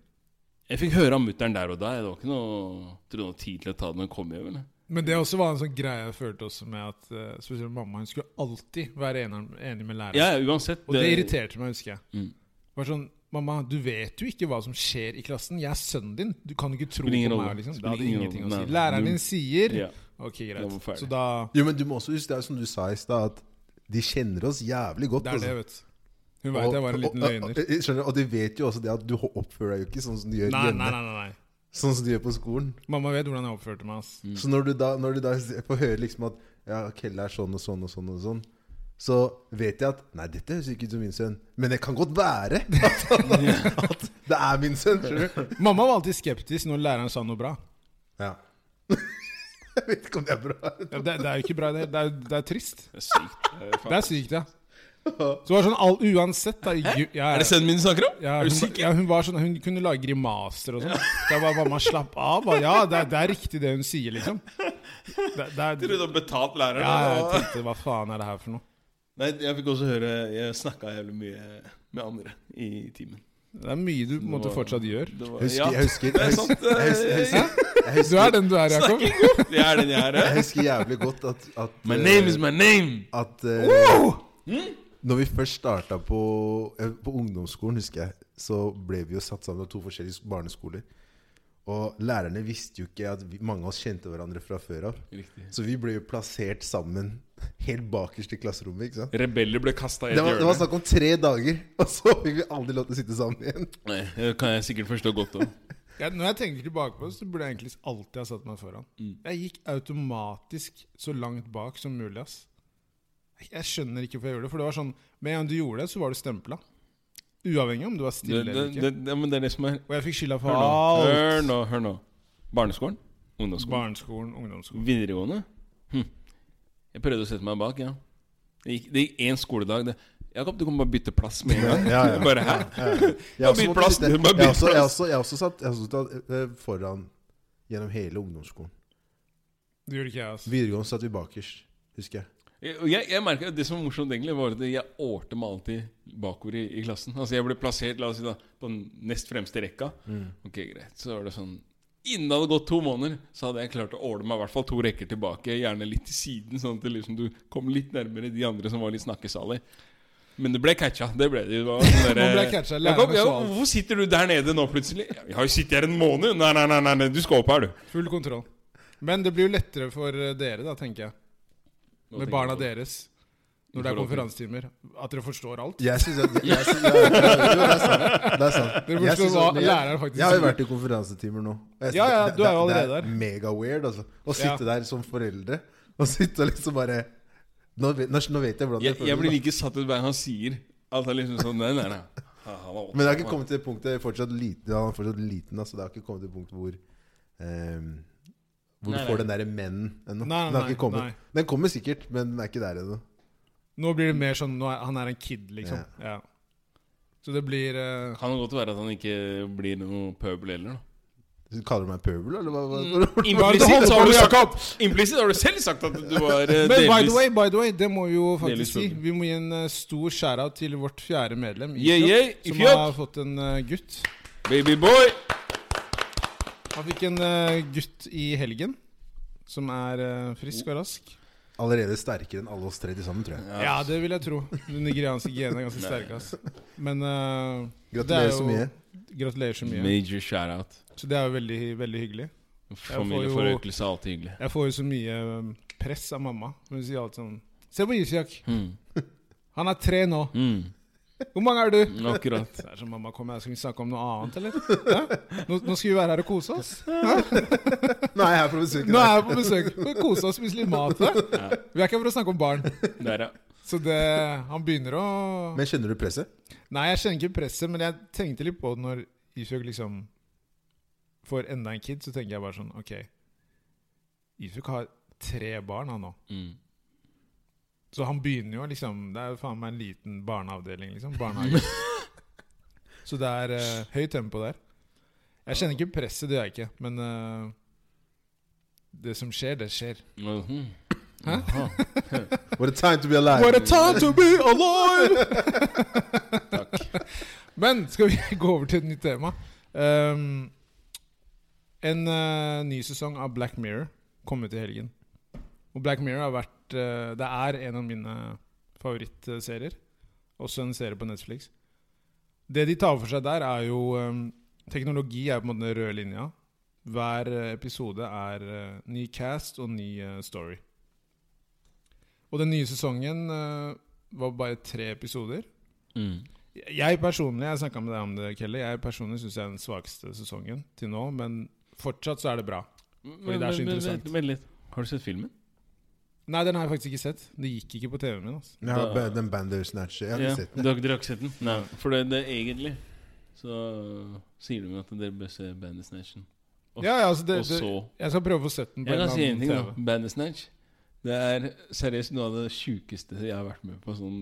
Speaker 2: Jeg fikk høre av mutter'n der og da. Det var ikke noe, tror det var tid til å ta det når jeg kom hjem. Eller?
Speaker 3: Men det også var en sånn greie jeg følte også med at eh, spesielt mamma hun skulle alltid være enig, enig med læreren.
Speaker 2: Ja, ja, uansett. eh,
Speaker 3: Og det irriterte meg, husker jeg.
Speaker 2: Mm.
Speaker 3: Det Var sånn, Mamma, du vet jo ikke hva som skjer i klassen. Jeg er sønnen din. Du kan jo ikke tro på
Speaker 2: Spiller ingen
Speaker 3: meg.
Speaker 2: rolle.
Speaker 3: Liksom. Det
Speaker 2: Spiller
Speaker 3: hadde
Speaker 2: ingen
Speaker 3: ingenting å
Speaker 2: rolle.
Speaker 3: si.
Speaker 2: Nei.
Speaker 3: Læreren din sier
Speaker 2: Ja.
Speaker 3: Ok,
Speaker 2: Da var vi
Speaker 3: greit.
Speaker 2: ferdig.
Speaker 3: Så da
Speaker 1: Jo, men du må også huske det er som du sa i stad, at de kjenner oss jævlig godt.
Speaker 3: Det er det,
Speaker 1: altså.
Speaker 3: vet du. Hun veit jeg var en liten
Speaker 1: og-
Speaker 3: løgner.
Speaker 1: Og, og, skjønner, og de vet jo også det at du oppfører deg jo ikke sånn som du gjør
Speaker 3: Nei,
Speaker 1: hjemme.
Speaker 3: nei, nei, nei, nei.
Speaker 1: Sånn som du gjør på skolen.
Speaker 3: Mamma vet hvordan jeg oppførte meg. ass
Speaker 2: Mm.
Speaker 1: Så når du da, når du da se- får høre liksom at ja, Kelle er sånn og sånn og sånn og sånn, så vet jeg at Nei, dette høres ikke ut som min sønn, men det kan godt være [laughs] at, at det er min sønn. skjønner
Speaker 2: [laughs]
Speaker 1: du?
Speaker 3: Mamma var alltid skeptisk når læreren sa noe bra.
Speaker 1: Ja. [laughs] Jeg vet ikke om det er bra.
Speaker 3: Ja, Det, det er jo ikke bra, det. Det er, det er trist.
Speaker 2: Det er sykt. Det er
Speaker 3: Det
Speaker 2: faen-
Speaker 3: er sykt, ja. Så det var sånn all, uansett da ja, ja,
Speaker 2: Er det sønnen min du snakker om?
Speaker 3: ja,
Speaker 2: er
Speaker 3: hun,
Speaker 2: du syk?
Speaker 3: var- ja, hun var sånn Hun kunne lage grimaser og sånn. Så jeg bare mamma, slapp av. Bare, ja, det er, det er riktig det hun sier, liksom. Det, det er,
Speaker 2: Tror du har betalt læreren?
Speaker 3: ja, jeg
Speaker 2: da?
Speaker 3: tenkte hva faen er det her for noe?
Speaker 2: Nei, jeg fikk også høre Jeg snakka jævlig mye med andre i timen.
Speaker 3: Det er mye du på en måte
Speaker 2: Det var-
Speaker 3: fortsatt gjør.
Speaker 2: Det var-
Speaker 1: Jeg
Speaker 2: ja,
Speaker 1: husker, jeg husker,
Speaker 2: det er
Speaker 1: jeg husker,
Speaker 2: sant.
Speaker 1: jeg husker, jeg husker, jeg
Speaker 3: Du
Speaker 1: husker,
Speaker 3: er den du er, Jakob.
Speaker 2: Det er den jeg er.
Speaker 1: jeg
Speaker 2: ja.
Speaker 1: husker jævlig godt at, at
Speaker 2: My
Speaker 1: eh,
Speaker 2: name is my name!
Speaker 1: at eh, Når vi først starta på, eh, på ungdomsskolen, husker jeg, så ble vi jo satt sammen av to forskjellige sk- barneskoler. Og lærerne visste jo ikke at vi, mange av oss kjente hverandre fra før av.
Speaker 2: Riktig.
Speaker 1: Så vi ble jo plassert sammen helt bakerst i klasserommet. ikke sant?
Speaker 2: Rebeller ble kasta i et
Speaker 1: Det var, det var
Speaker 2: hjørne.
Speaker 1: snakk om tre dager, [laughs] og så fikk vi aldri lov til å sitte sammen igjen.
Speaker 2: Nei, Det kan jeg sikkert forstå godt òg.
Speaker 3: Ja, når jeg tenker tilbake på det, så burde jeg egentlig alltid ha satt meg foran. Jeg gikk automatisk så langt bak som mulig. ass. Jeg- Jeg skjønner ikke hvorfor jeg gjorde det. For det var sånn, Med en gang du gjorde det, så var du stempla. Uavhengig om du var stille
Speaker 2: Det,
Speaker 3: eller
Speaker 2: det,
Speaker 3: ikke.
Speaker 2: det, ja, men det er det som er
Speaker 3: Og jeg fikk skylda for
Speaker 2: Hør nå.
Speaker 3: alt.
Speaker 2: Hør nå. hør nå Barneskolen? Ungdomsskolen?
Speaker 3: Barneskolen, ungdomsskolen.
Speaker 2: Videregående? Hm. Jeg prøvde å sette meg bak, ja. Det gikk- det gikk én skoledag. Det. Jakob, du kan bare bytte plass med en gang.
Speaker 1: Ja, ja.
Speaker 2: [laughs] Bare hæ?
Speaker 1: Jeg har
Speaker 2: Bare
Speaker 1: også,
Speaker 2: bytt
Speaker 1: måttet
Speaker 2: plass,
Speaker 1: sitte-
Speaker 2: du, bare
Speaker 1: jeg har
Speaker 2: bytt
Speaker 1: også, jeg har
Speaker 2: plass.
Speaker 1: også, jeg har også satt, jeg har også satt eh, foran gjennom hele ungdomsskolen.
Speaker 3: Det gjorde ikke jeg, ass.
Speaker 1: Videregående satt vi bakerst, husker jeg.
Speaker 2: Jeg, jeg, jeg merket at Det som var morsomt, egentlig var at jeg ålte meg alltid bakover i, i klassen. Altså Jeg ble plassert la oss si da på den nest fremste rekka.
Speaker 3: Mm.
Speaker 2: Ok, greit Så var det sånn Innen det hadde gått to måneder, så hadde jeg klart å åle meg i hvert fall to rekker tilbake. Gjerne litt til siden, sånn at det liksom du kom litt nærmere de andre som var litt snakkesalig. Men det ble catcha. Det ble det. det var
Speaker 3: [laughs]
Speaker 2: sånn
Speaker 3: Nå ble
Speaker 2: derre-
Speaker 3: jeg catcha, læreren
Speaker 2: Jakob, ja,
Speaker 3: så alt.
Speaker 2: hvorfor sitter du der nede nå plutselig? Jeg har jo sittet her en måned. Nei, nei, nei, nei, nei du skal opp her, du.
Speaker 3: Full kontroll. Men det blir jo lettere for eh, dere, da, tenker jeg. Med barna deres. Når
Speaker 2: forhold
Speaker 3: det er
Speaker 2: til-
Speaker 3: konferansetimer. At dere forstår alt.
Speaker 1: Jeg synes at [laughs] jeg, synes, ja, jo, det er sant. Det er sant.
Speaker 3: Dere
Speaker 1: Jeg
Speaker 3: forstår
Speaker 1: synes
Speaker 3: hva
Speaker 1: at- men
Speaker 3: læreren faktisk
Speaker 1: Jeg har jo
Speaker 3: sier.
Speaker 1: vært i konferansetimer nå. og jeg
Speaker 3: Ja,
Speaker 1: synes
Speaker 3: ja,
Speaker 1: det-
Speaker 3: du er jo
Speaker 1: det-
Speaker 3: allerede
Speaker 1: Det
Speaker 3: der.
Speaker 1: er mega weird, altså. Å sitte der som foreldre og sitte og liksom bare Nå vet, nå vet jeg hvordan det
Speaker 2: Jeg, jeg blir
Speaker 1: da.
Speaker 2: like satt ut hver gang han sier at han liksom sånn Nei, nei, nei. Ha, han er
Speaker 1: Men det har ikke kommet til det punktet jeg er fortsatt liten, Han er fortsatt liten, altså. Det har ikke kommet til det punktet hvor ehm, Hvor
Speaker 2: Nei,
Speaker 1: du får
Speaker 2: nei.
Speaker 1: den derre men ennå.
Speaker 3: Nei,
Speaker 1: den har
Speaker 3: nei,
Speaker 1: ikke kommet.
Speaker 3: nei.
Speaker 1: Den kommer sikkert, men den er ikke der ennå.
Speaker 3: Nå blir det mer sånn nå er, Han er en kid, liksom. Ja. Så det blir eh,
Speaker 2: Kan det godt være at han ikke blir noe pøbel heller, da.
Speaker 1: Så Kaller du meg pøbel, eller hva?
Speaker 2: Mm.
Speaker 1: hva, hva?
Speaker 2: Implisitt
Speaker 3: på
Speaker 2: har, du
Speaker 3: med,
Speaker 2: sagt- implisitt har du selv sagt at du var eh,
Speaker 3: [laughs] Men by the
Speaker 2: delvis
Speaker 3: way, by the way, det må vi jo
Speaker 2: Delvis
Speaker 3: faktisk si.
Speaker 2: problem.
Speaker 3: Vi må gi en eh, stor shout-out til vårt fjerde medlem,
Speaker 2: Yeah, yeah,
Speaker 3: som
Speaker 2: Ifjok.
Speaker 3: har fått en eh, gutt.
Speaker 2: Babyboy!
Speaker 3: Han fikk en eh, gutt i helgen, som er eh, frisk og rask.
Speaker 1: Allerede sterkere enn alle oss tre til sammen, tror jeg.
Speaker 3: Ja, det vil jeg tro. De nigerianske genene er
Speaker 2: [laughs]
Speaker 3: ganske sterke, ass. Men eh, det er
Speaker 1: Gratulerer så
Speaker 3: jo- [laughs]
Speaker 1: mye.
Speaker 3: Gratulerer så mye.
Speaker 2: Major shout-out.
Speaker 3: Så det er jo veldig, veldig hyggelig.
Speaker 2: Familieforøkelse er alltid hyggelig.
Speaker 3: Jeg får jo så mye um, press av mamma. Hun sier alltid sånn Se på Isjak.
Speaker 2: Mm.
Speaker 3: Han er tre nå.
Speaker 2: Mm.
Speaker 3: Hvor
Speaker 2: [laughs]
Speaker 3: mange er du? [laughs]
Speaker 2: Akkurat.
Speaker 3: Det er sånn, mamma, kom her. Skal vi snakke om noe annet, eller? Hæ? Nå, nå skal vi være her og kose oss. Hæ?
Speaker 1: Nå er jeg her for å besøke
Speaker 3: Nå
Speaker 1: deg.
Speaker 3: er jeg på besøk. Vi skal Kose oss, spise litt mat. Hæ? Vi er ikke her for å snakke om barn.
Speaker 2: Der, ja.
Speaker 3: Så det, han begynner å
Speaker 1: Men kjenner du presset?
Speaker 3: Nei, jeg kjenner ikke presset, men jeg tenkte litt på det når Isjak liksom får enda en kid, så tenker jeg bare sånn Ok, Isjak har tre barn, han nå.
Speaker 2: Mm.
Speaker 3: Så han begynner jo liksom Det er jo faen meg en liten barneavdeling, liksom. Barnehage. så det er eh, høyt tempo der. Jeg kjenner ikke presset, det gjør jeg ikke. Men eh, det som skjer, det skjer.
Speaker 2: Mhm.
Speaker 3: Hæ?
Speaker 2: Jaha.
Speaker 1: What a time to be alive.
Speaker 3: What a time to be alive!
Speaker 2: Takk.
Speaker 3: men skal vi [laughs] gå over til et nytt tema? Um, en eh, ny sesong av Black Mirror kom ut i helgen. Og Black Mirror har vært eh, Det er en av mine favorittserier. Også en serie på Netflix. Det de tar for seg der, er jo eh, Teknologi er på en måte den røde linja. Hver eh, episode er eh, ny cast og ny eh, story. Og den nye sesongen eh, var bare tre episoder.
Speaker 2: Mm.
Speaker 3: Jeg personlig, jeg snakka med deg om det, Kelly. Jeg personlig syns jeg er den svakeste sesongen til nå, men fortsatt så er det bra.
Speaker 2: Men,
Speaker 3: det
Speaker 2: men-
Speaker 3: er så
Speaker 2: men-
Speaker 3: interessant.
Speaker 2: Vent litt. Har du sett filmen?
Speaker 3: Nei, den har jeg faktisk ikke sett. Det gikk ikke på TV-en min. Altså.
Speaker 1: Ja,
Speaker 2: Da-
Speaker 1: den Bandersnatch. Jeg har ikke
Speaker 2: Ja,
Speaker 1: sett den.
Speaker 2: Dere dere har ikke sett den? Nei. For det, det er egentlig så sier de at dere bør se Bandersnatchen. Og-
Speaker 3: Ja, ja, altså det,
Speaker 2: Og
Speaker 3: det,
Speaker 2: så
Speaker 3: jeg skal prøve å få sett den på
Speaker 2: Jeg
Speaker 3: en
Speaker 2: kan si
Speaker 3: eller
Speaker 2: en ting, da.
Speaker 3: annen TV.
Speaker 2: Bandersnatch. Det er seriøst noe av det sjukeste jeg har vært med på. Sånn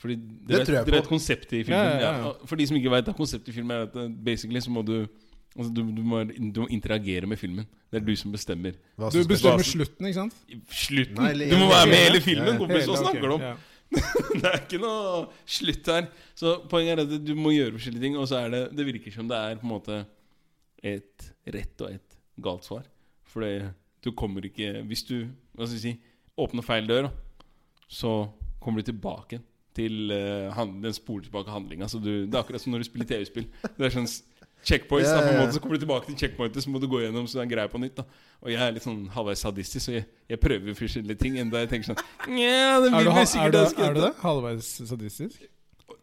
Speaker 2: fordi
Speaker 1: Det tror jeg
Speaker 2: dere vet- dere
Speaker 1: på.
Speaker 2: vet konseptet i filmen.
Speaker 3: Ja, ja, ja, ja.
Speaker 2: og For de som ikke vet, da, konseptet i filmen er at eh, basically så må du Altså, du, du, må, du må interagere med filmen. Det er du som bestemmer.
Speaker 1: Hva
Speaker 3: Du
Speaker 1: som skal-
Speaker 3: bestemmer
Speaker 2: Basen.
Speaker 3: slutten, ikke sant?
Speaker 2: Slutten!
Speaker 1: Nei, eller-
Speaker 2: du må være med i
Speaker 3: hele-
Speaker 2: hele filmen!
Speaker 1: ja,
Speaker 2: kompis, Hva
Speaker 3: Hele, ok,
Speaker 2: snakker du om?
Speaker 3: ja.
Speaker 2: [laughs] Det er ikke noe slutt her. Så poenget er at du må gjøre forskjellige ting, og så er det Det virker som det er på en måte et rett og et galt svar. For det- du kommer ikke Hvis du hva skal jeg si, åpner feil dør, da, så kommer du tilbake til eh, han- den spoler tilbake handlinga. Så du, det er akkurat som når du spiller TV-spill. Det er sånn s- checkpoints.
Speaker 1: Ja,
Speaker 2: da, på en
Speaker 1: ja, ja.
Speaker 2: måte, så kommer du tilbake til checkpointet, så må du gå gjennom så det er greier på nytt. da Og jeg er litt sånn halvveis sadistisk, så jeg, jeg prøver forskjellige ting. Enda jeg tenker sånn Nja, det
Speaker 3: Er, du,
Speaker 2: vil
Speaker 3: ha-
Speaker 2: bli
Speaker 3: er,
Speaker 2: sikkert
Speaker 3: du,
Speaker 2: ønsket».
Speaker 3: er du det? Halvveis sadistisk?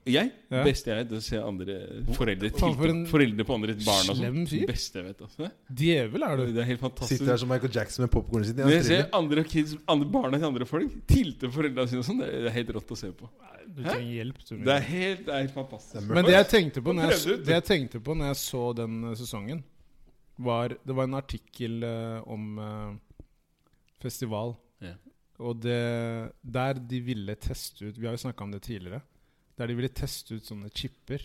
Speaker 2: Jeg?
Speaker 3: Ja.
Speaker 2: Beste jeg vet, det er å se andre foreldre
Speaker 3: Faen, for
Speaker 2: tilte-
Speaker 3: en
Speaker 2: Foreldre på andre barn og sånn.
Speaker 3: slem fyr.
Speaker 2: Beste jeg vet. Altså.
Speaker 3: Djevel er du.
Speaker 2: Det er helt fantastisk.
Speaker 1: Sitter her som Michael Jackson med popkornet sitt. i
Speaker 2: Når jeg ser
Speaker 1: Australia.
Speaker 2: andre kids, andre barna til andre folk tilte foreldrene sine og sånn, det er- det er helt rått å se på.
Speaker 3: Du trenger hjelp. Du,
Speaker 2: Det er helt, det er helt fantastisk.
Speaker 1: Det er
Speaker 3: Men det jeg tenkte på når jeg,
Speaker 2: Prøvde ut.
Speaker 3: det jeg tenkte på når jeg så den eh, sesongen, var Det var en artikkel eh, om eh, festival.
Speaker 2: Ja.
Speaker 3: Og det Der de ville teste ut Vi har jo snakka om det tidligere. Der de ville teste ut sånne chipper.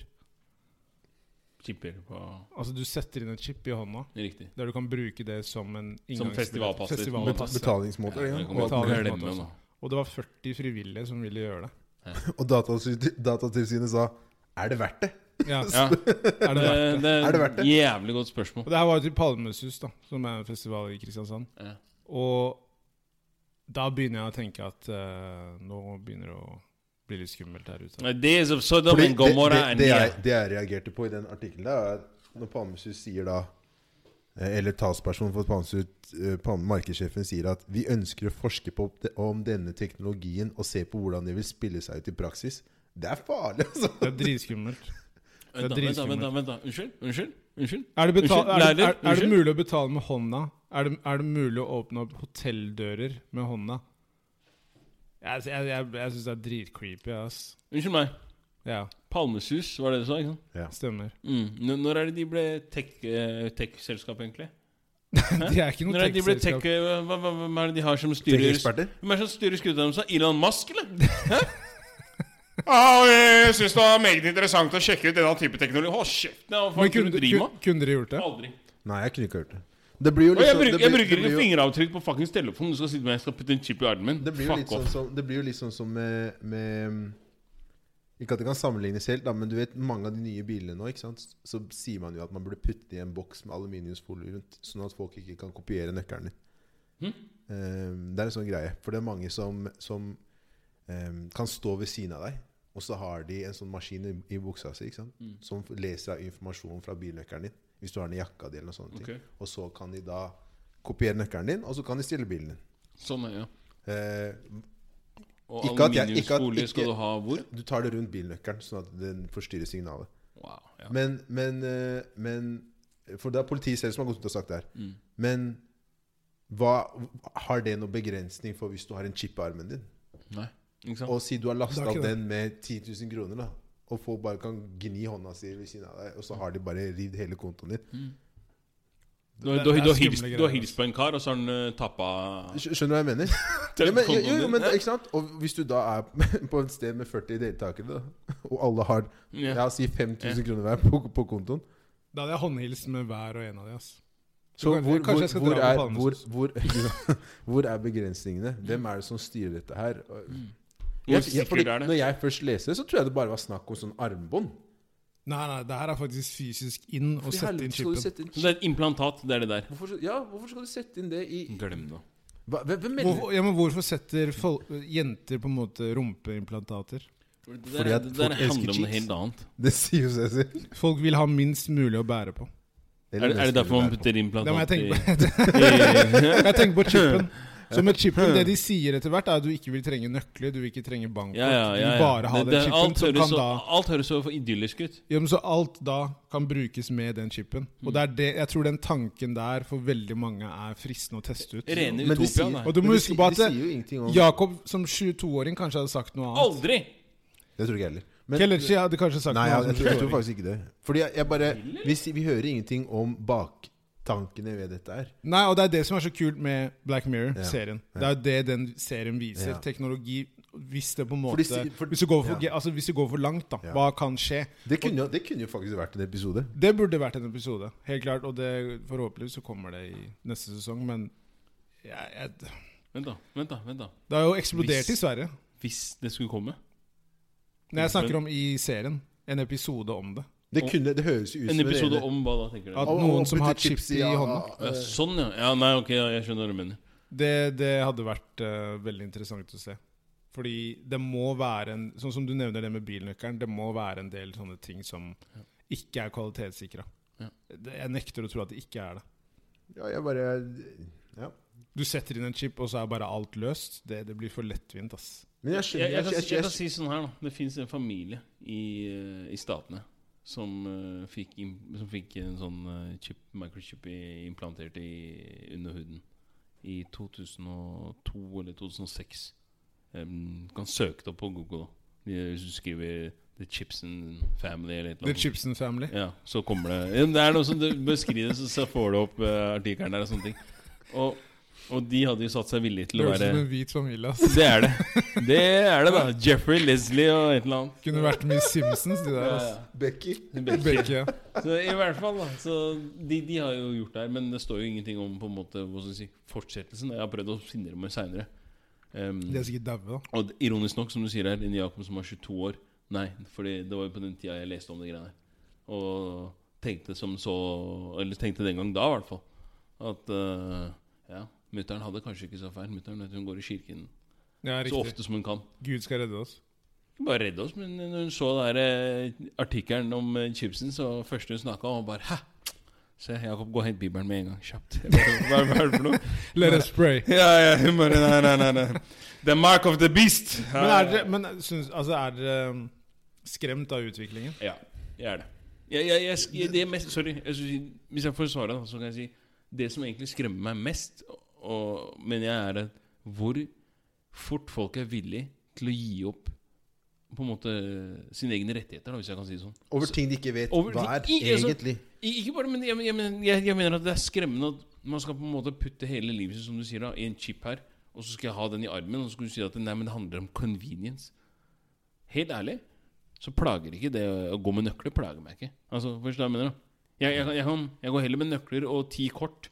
Speaker 2: Chipper på
Speaker 3: Altså du setter inn en chip i hånda,
Speaker 2: Riktig.
Speaker 3: der du kan bruke det som en
Speaker 2: Som
Speaker 3: inngangsbillett.
Speaker 2: festivalpasser.
Speaker 1: Bet-
Speaker 3: festivalpass. ja.
Speaker 1: Betalingsmåter.
Speaker 2: Ja,
Speaker 1: Ja,
Speaker 2: det kommer
Speaker 1: og,
Speaker 2: til å
Speaker 3: Betaler
Speaker 2: glemme
Speaker 3: på en
Speaker 2: nå.
Speaker 3: måte Og det var 40 frivillige som ville
Speaker 2: [laughs]
Speaker 3: gjøre det.
Speaker 1: og datatilsynet, datatilsynet sa Er det verdt det?
Speaker 3: Ja,
Speaker 2: Ja,
Speaker 3: er det verdt det?
Speaker 2: det
Speaker 1: Er det verdt det?
Speaker 2: Jævlig godt
Speaker 3: Og
Speaker 2: spørsmål.
Speaker 3: det her var jo til Palmesus, da, som er en festival i Kristiansand.
Speaker 2: Ja.
Speaker 3: Og da begynner jeg å tenke at eh, nå begynner det å bli litt skummelt her ute.
Speaker 2: Days of Sodom
Speaker 1: Fordi det,
Speaker 2: and Gomorrah
Speaker 1: det,
Speaker 2: er
Speaker 1: det, jeg,
Speaker 2: ned.
Speaker 1: det jeg reagerte på i den artikkelen, der, er at når Palmesus sier da eh, Eller talspersonen for Palmesus, eh, Palme- markedssjefen, sier at vi ønsker å forske på det- om denne teknologien og se på hvordan det vil spille seg ut i praksis. Det er farlig, altså!
Speaker 3: Det er dritskummelt.
Speaker 2: Vent, da,
Speaker 3: det er
Speaker 2: vent, da, vent, da,
Speaker 3: dritskummelt.
Speaker 2: vent da. Unnskyld? Unnskyld? Unnskyld?
Speaker 3: Er det, betal,
Speaker 2: Unnskyld,
Speaker 3: er, det, er,
Speaker 2: lærer,
Speaker 3: er det
Speaker 2: unnskyld.
Speaker 3: mulig å betale med hånda? Er det, er det mulig å åpne opp hotelldører med hånda? Jeg, jeg, jeg, jeg syns det er dritcreepy, ass.
Speaker 2: Unnskyld meg.
Speaker 3: Ja,
Speaker 2: Palmesus, var det du sa? ikke sant?
Speaker 3: stemmer.
Speaker 2: Mm. N- Når er det de ble tech, eh, tech-selskap, egentlig?
Speaker 3: De er ikke
Speaker 2: Når
Speaker 3: noe
Speaker 2: er det de ble tech,
Speaker 3: tech-selskap.
Speaker 2: eh, hva, hva, hvem er det de har som styrer
Speaker 1: Eksperter?
Speaker 2: Hvem er det som styrer skuta deres? Elon Musk,
Speaker 1: [laughs]
Speaker 2: eller? Hæ? Ja, jeg syns det var meget interessant å sjekke ut denne type teknologi. Hold kjeften! ja, Hva
Speaker 3: Men
Speaker 2: faen
Speaker 3: kunne,
Speaker 2: kunne du drive
Speaker 3: kunne,
Speaker 2: med?
Speaker 3: kunne dere gjort det?
Speaker 2: Aldri.
Speaker 1: Nei, jeg kunne ikke hørt det. Det blir jo
Speaker 2: Og jeg
Speaker 1: liksom- det
Speaker 2: bruker, jeg
Speaker 1: blir-
Speaker 2: bruker
Speaker 1: det blir
Speaker 2: ikke
Speaker 1: jo-
Speaker 2: fingeravtrykk på fuckings telefonen. Du skal sitte med, jeg skal putte en chip i armen min.
Speaker 1: Det blir jo litt
Speaker 2: Fuck
Speaker 1: sånn
Speaker 2: off.
Speaker 1: som, det blir jo litt sånn som med, med Ikke at det kan sammenlignes helt, da, men du vet mange av de nye bilene nå, ikke sant? så sier man jo at man burde putte i en boks med aluminiumsfolie rundt, sånn at folk ikke kan kopiere nøkkelen din.
Speaker 2: Hm?
Speaker 1: Eh, det er en sånn greie. For det er mange som, som eh, kan stå ved siden av deg, og så har de en sånn maskin i, i buksa si ikke sant?
Speaker 2: Hm.
Speaker 1: som leser av informasjon fra bilnøkkelen din, hvis du har den i jakka di, eller noe sånt.
Speaker 2: Ok.
Speaker 1: Og så kan de da kopiere nøkkelen din, og så kan de stjele bilen din.
Speaker 2: Sånn er ja.
Speaker 1: Eh,
Speaker 2: Og
Speaker 1: Ikke at jeg- ikke at-
Speaker 2: aluminiumsfolie
Speaker 1: ikke-
Speaker 2: skal du ha hvor?
Speaker 1: du tar det rundt bilnøkkelen, sånn at den forstyrrer signalet.
Speaker 2: Wow, ja.
Speaker 1: Men, men, eh, men For det er politiet selv som har gått ut og sagt det her.
Speaker 2: Mm.
Speaker 1: Men hva, har det noen begrensning for hvis du har en chip i armen din?
Speaker 2: Nei. Ikke sant?
Speaker 1: Og si du har
Speaker 3: Det
Speaker 1: lasta
Speaker 3: er ikke det.
Speaker 1: den med 10 000 kroner, da. Og folk bare kan gni hånda si ved siden av deg, og så har de bare ridd hele kontoen din.
Speaker 2: Du, har-
Speaker 3: Det-
Speaker 2: du, har-
Speaker 3: det er
Speaker 2: du, har
Speaker 3: skumle
Speaker 2: hilst,
Speaker 3: greier,
Speaker 2: du har
Speaker 3: ass.
Speaker 1: altså.
Speaker 2: hilst på en kar, og så har han uh, tappa
Speaker 1: Skj- Skjønner du hva jeg
Speaker 2: [laughs]
Speaker 1: mener? Ja, men, jo, jo, men ikke sant? Og hvis du da er [laughs] på et sted med 40 deltakere, da, og alle har
Speaker 2: Ja.
Speaker 1: ja, si 5000 kroner hver på, på kontoen
Speaker 3: Da hadde jeg håndhilst med hver og en av de, ass.
Speaker 1: Så hvor,
Speaker 3: Kanskje-
Speaker 1: hvor,
Speaker 3: kanskje jeg skal
Speaker 1: hvor,
Speaker 3: dra på
Speaker 1: er,
Speaker 3: Palmesus.
Speaker 1: hvor, hvor, hvor [laughs] er begrensningene? Hvem er det som styrer dette her? Og-
Speaker 2: Mm. Hvor
Speaker 1: Jeg, jeg,
Speaker 2: sikkert
Speaker 1: fordi,
Speaker 2: er det?
Speaker 1: når jeg først leste det, så tror jeg det bare var snakk om sånn armbånd.
Speaker 3: Nei, nei, det her er faktisk fysisk inn og
Speaker 1: I
Speaker 3: sette
Speaker 1: helvete
Speaker 3: inn
Speaker 1: skal du
Speaker 3: chipen.
Speaker 1: sette inn
Speaker 2: Så det er et implantat, det er det der.
Speaker 1: Hvorfor, skal- ja, hvorfor skal du sette inn det i
Speaker 2: Glem det.
Speaker 1: Hva- Hvem, hvem mener du?
Speaker 3: Hvorfor, ja, men hvorfor setter fol jenter på en måte rumpeimplantater?
Speaker 2: Fordi
Speaker 1: Fordi
Speaker 2: det
Speaker 1: at
Speaker 2: der, det
Speaker 1: folk
Speaker 2: der
Speaker 1: elsker
Speaker 2: handler om noe
Speaker 1: cheeks.
Speaker 2: helt annet.
Speaker 1: Det sier jo seg selv.
Speaker 3: Folk vil ha minst mulig å bære på.
Speaker 2: Er, det- er det derfor man putter
Speaker 3: Det må jeg
Speaker 2: implantat
Speaker 3: tenke
Speaker 2: i
Speaker 3: på. jeg tenker på [laughs]
Speaker 2: [laughs]
Speaker 3: chipen. Så med chipen, Det de sier etter hvert, er at du ikke vil trenge nøkler, du vil ikke trenge bankkort.
Speaker 2: ja, ja, ja,
Speaker 3: Du vil
Speaker 2: ja.
Speaker 3: bare ha
Speaker 2: Det-
Speaker 3: den
Speaker 2: det-
Speaker 3: chipen
Speaker 2: alt,
Speaker 3: som
Speaker 2: høres
Speaker 3: kan
Speaker 2: så,
Speaker 3: da
Speaker 2: alt høres så for idyllisk ut.
Speaker 3: ja, men Så alt da kan brukes med den chipen. Og det er det, jeg tror den tanken der for veldig mange er fristende å teste ut.
Speaker 1: Men
Speaker 2: Rene
Speaker 1: de
Speaker 2: utopia.
Speaker 1: sier-
Speaker 2: nei.
Speaker 3: Og du må huske på at
Speaker 1: De sier jo ingenting om
Speaker 3: Jakob som 22-åring kanskje hadde sagt noe annet.
Speaker 2: Aldri!
Speaker 1: Det tror ikke jeg heller. Men-
Speaker 3: Kellerchi hadde kanskje sagt
Speaker 1: Nei,
Speaker 3: noe
Speaker 1: jeg, jeg,
Speaker 3: annet.
Speaker 1: tror,
Speaker 3: som
Speaker 1: jeg tror
Speaker 3: 22-åring.
Speaker 1: faktisk ikke det. Fordi jeg, jeg bare vi, si- vi hører ingenting om baktankene ved dette her.
Speaker 3: Nei, og det er det som er så kult med Black Mirror-serien.
Speaker 1: Ja.
Speaker 3: Det er jo det den serien viser.
Speaker 1: Ja.
Speaker 3: Teknologi Hvis det på en
Speaker 1: For
Speaker 3: måte
Speaker 1: de sier- for-
Speaker 3: hvis, du går for,
Speaker 1: ja.
Speaker 3: altså, hvis du går for langt, da,
Speaker 1: Ja.
Speaker 3: hva kan skje?
Speaker 1: Det kunne, jo- det kunne jo faktisk vært en episode.
Speaker 3: Det burde vært en episode, helt klart. Og det, forhåpentligvis så kommer det i neste sesong, men jeg, jeg,
Speaker 2: Vent, da. vent da, vent da
Speaker 3: Det har jo eksplodert
Speaker 2: Hvis-
Speaker 3: i Sverige.
Speaker 2: Hvis det skulle komme
Speaker 3: Når jeg snakker om i serien. En episode om det.
Speaker 1: Det,
Speaker 2: Og-
Speaker 1: kunne, det høres jo ut
Speaker 2: En
Speaker 1: som
Speaker 2: episode
Speaker 1: ene-
Speaker 2: om hva da, tenker
Speaker 3: At
Speaker 2: du?
Speaker 1: Å, å,
Speaker 3: noen som
Speaker 1: putte
Speaker 3: har chips i hånda.
Speaker 1: eh,
Speaker 2: Ja, sånn, ja. ja. Nei, ok, ja, jeg skjønner hva du mener.
Speaker 3: Det, det hadde vært eh, veldig interessant å se. Fordi det må være en Sånn som du nevner det med bilnøkkelen, det må være en del sånne ting som ikke er kvalitetssikra.
Speaker 2: Ja.
Speaker 3: Det- Jeg nekter å tro at det ikke er det.
Speaker 1: Ja, jeg bare Ja.
Speaker 3: Du setter inn en chip, og så er bare alt løst. Det, det blir for lettvint, ass.
Speaker 1: Men jeg
Speaker 2: Jeg,
Speaker 1: skjønner
Speaker 2: jeg, kan,
Speaker 1: jeg-
Speaker 2: jeg
Speaker 1: jeg-
Speaker 2: kan si sånn her, da. Det fins en familie i, eh, i Statene som, eh, fikk, im- som fikk en sånn eh, chip, microchip i, implantert i under huden i 2002 eller 2006. Em, du kan søke det opp på Google. da. De- Hvis du skriver 'The Chipson Family' eller et eller
Speaker 3: The
Speaker 2: annet.
Speaker 3: Chipsen Family.
Speaker 2: Ja, så kommer det Ja, men Det er noe som du beskriver, så- så får du opp eh, artikkelen der og sånne ting. Og, og de hadde jo satt seg villige til
Speaker 3: Det
Speaker 2: å
Speaker 3: høres ut som
Speaker 2: være
Speaker 3: en hvit familie. ass.
Speaker 2: Det er det. Det er det, da. Jeffrey, Leslie og et eller annet.
Speaker 3: [laughs] Kunne vært mye Simpsons, de der. ass.
Speaker 1: Becky.
Speaker 2: Begge.
Speaker 3: Begge. ja.
Speaker 2: Så I hvert fall, da. Så de, de har jo gjort det her, men det står jo ingenting om på en måte, hva skal jeg si, fortsettelsen. Jeg har prøvd å finne dem seinere. Um,
Speaker 3: De er sikkert daue, da.
Speaker 2: og ironisk nok, som du sier her, en Jakob som var 22 år Nei, fordi det var jo på den tida jeg leste om de greiene her. Og tenkte som så Eller tenkte den gang da, i hvert fall. At eh, ja, mutter'n hadde kanskje ikke så feil. Mutter'n hun går i kirken
Speaker 3: Ja,
Speaker 2: så
Speaker 3: riktig.
Speaker 2: ofte som hun kan.
Speaker 3: Gud skal redde oss.
Speaker 2: Ikke bare redde oss, men når hun så der, eh, artikkelen om eh, chipsen, så første hun snakka om, bare Hæ! Se, Jakob, gå og hent Bibelen med en gang. Kjapt. [laughs] Jeg bare, Hva hva er det for noe?
Speaker 3: Let us pray.
Speaker 2: Ja, ja, hun bare Nei, nei, nei. nei. The mark of the beast!
Speaker 3: Men er dere, men syns, altså er dere um, skremt av utviklingen?
Speaker 2: Ja, jeg er det. Jeg, jeg, jeg, sk- det er mest, sorry, jeg skulle si- hvis jeg får svare, da, så kan jeg si Det som egentlig skremmer meg mest, og, men jeg er at hvor fort folk er villig til å gi opp på en måte sine egne rettigheter, da, hvis jeg kan si det sånn.
Speaker 1: Over ting de ikke vet
Speaker 2: Over-
Speaker 1: hva er,
Speaker 2: i- altså-
Speaker 1: egentlig.
Speaker 2: I- Ikke bare, men jeg, jeg, mener- jeg, jeg mener at det er skremmende at man skal på en måte putte hele livet sitt som du sier da, i en chip her, og så skal jeg ha den i armen, og så skal du si at nei, men det handler om convenience. Helt ærlig, så plager ikke det å gå med nøkler. plager meg ikke. Altså, Forstår du hva jeg mener? da? Jeg, jeg, kan- jeg, kan, jeg går heller med nøkler og ti kort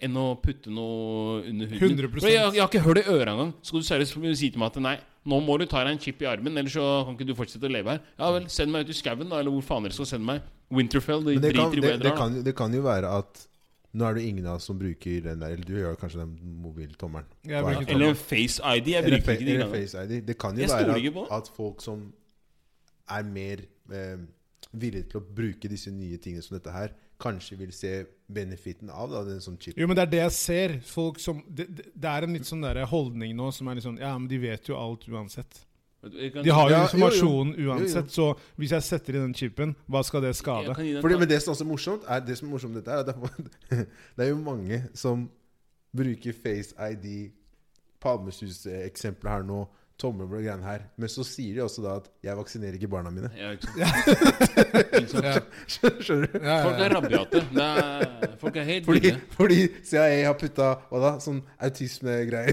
Speaker 2: enn å putte noe under huden.
Speaker 3: 100%.
Speaker 2: For jeg, jeg har ikke hørt det i øret engang. Skal du seriøst si til meg at nei, nå må du ta deg en chip i armen, ellers så kan ikke du fortsette å leve her. Ja vel, send meg ut i skauen, da, eller hvor faen dere skal sende meg. Winterfell, de
Speaker 1: Men det kan,
Speaker 2: driter i hvor
Speaker 1: det,
Speaker 2: jeg
Speaker 1: det,
Speaker 2: drar. da.
Speaker 1: kan, det kan jo være at nå er det ingen av oss som bruker den der Eller du gjør kanskje den mobiltommelen.
Speaker 3: Jeg
Speaker 1: Hva er
Speaker 3: bruker
Speaker 1: det?
Speaker 2: Eller en Face ID. Jeg
Speaker 1: Eller,
Speaker 2: bruker
Speaker 1: fa-
Speaker 2: ikke de
Speaker 1: eller
Speaker 2: greiene.
Speaker 1: Face ID. Det kan jo
Speaker 2: Jeg stoler
Speaker 1: være
Speaker 2: ikke på
Speaker 1: at, at folk som er mer eh, villige til å bruke disse nye tingene som dette her, kanskje vil se benefiten av da, den som chip.
Speaker 3: Jo, men det er det jeg ser. Folk som Det, det- det er en litt sånn der holdning nå som er litt sånn Ja, men de vet jo alt uansett.
Speaker 2: Jeg kan-
Speaker 3: De har jo
Speaker 1: Ja, jo, jo.
Speaker 3: informasjonen uansett, så hvis jeg setter i den chipen, hva skal det
Speaker 2: jeg
Speaker 3: skade?
Speaker 2: kan gi deg en
Speaker 1: Fordi,
Speaker 2: ta-
Speaker 1: men det som også er morsomt, er det som er morsomt med dette, her, er at [laughs] det, er- det er jo mange som bruker Face ID, Palmesus-eksempelet her nå, tommelen og greiene her, men så sier de også da at 'jeg vaksinerer ikke barna mine'.
Speaker 2: Ja, ikke sant. Ikke sant?
Speaker 3: Ja.
Speaker 1: [laughs] Skjønner du?
Speaker 3: Ja,
Speaker 2: Folk
Speaker 3: ja,
Speaker 2: er
Speaker 3: ja.
Speaker 2: rabiate. Det er- Folk er helt
Speaker 1: Fordi,
Speaker 2: ville.
Speaker 1: fordi CIA har putta hva da, sånn autismegreier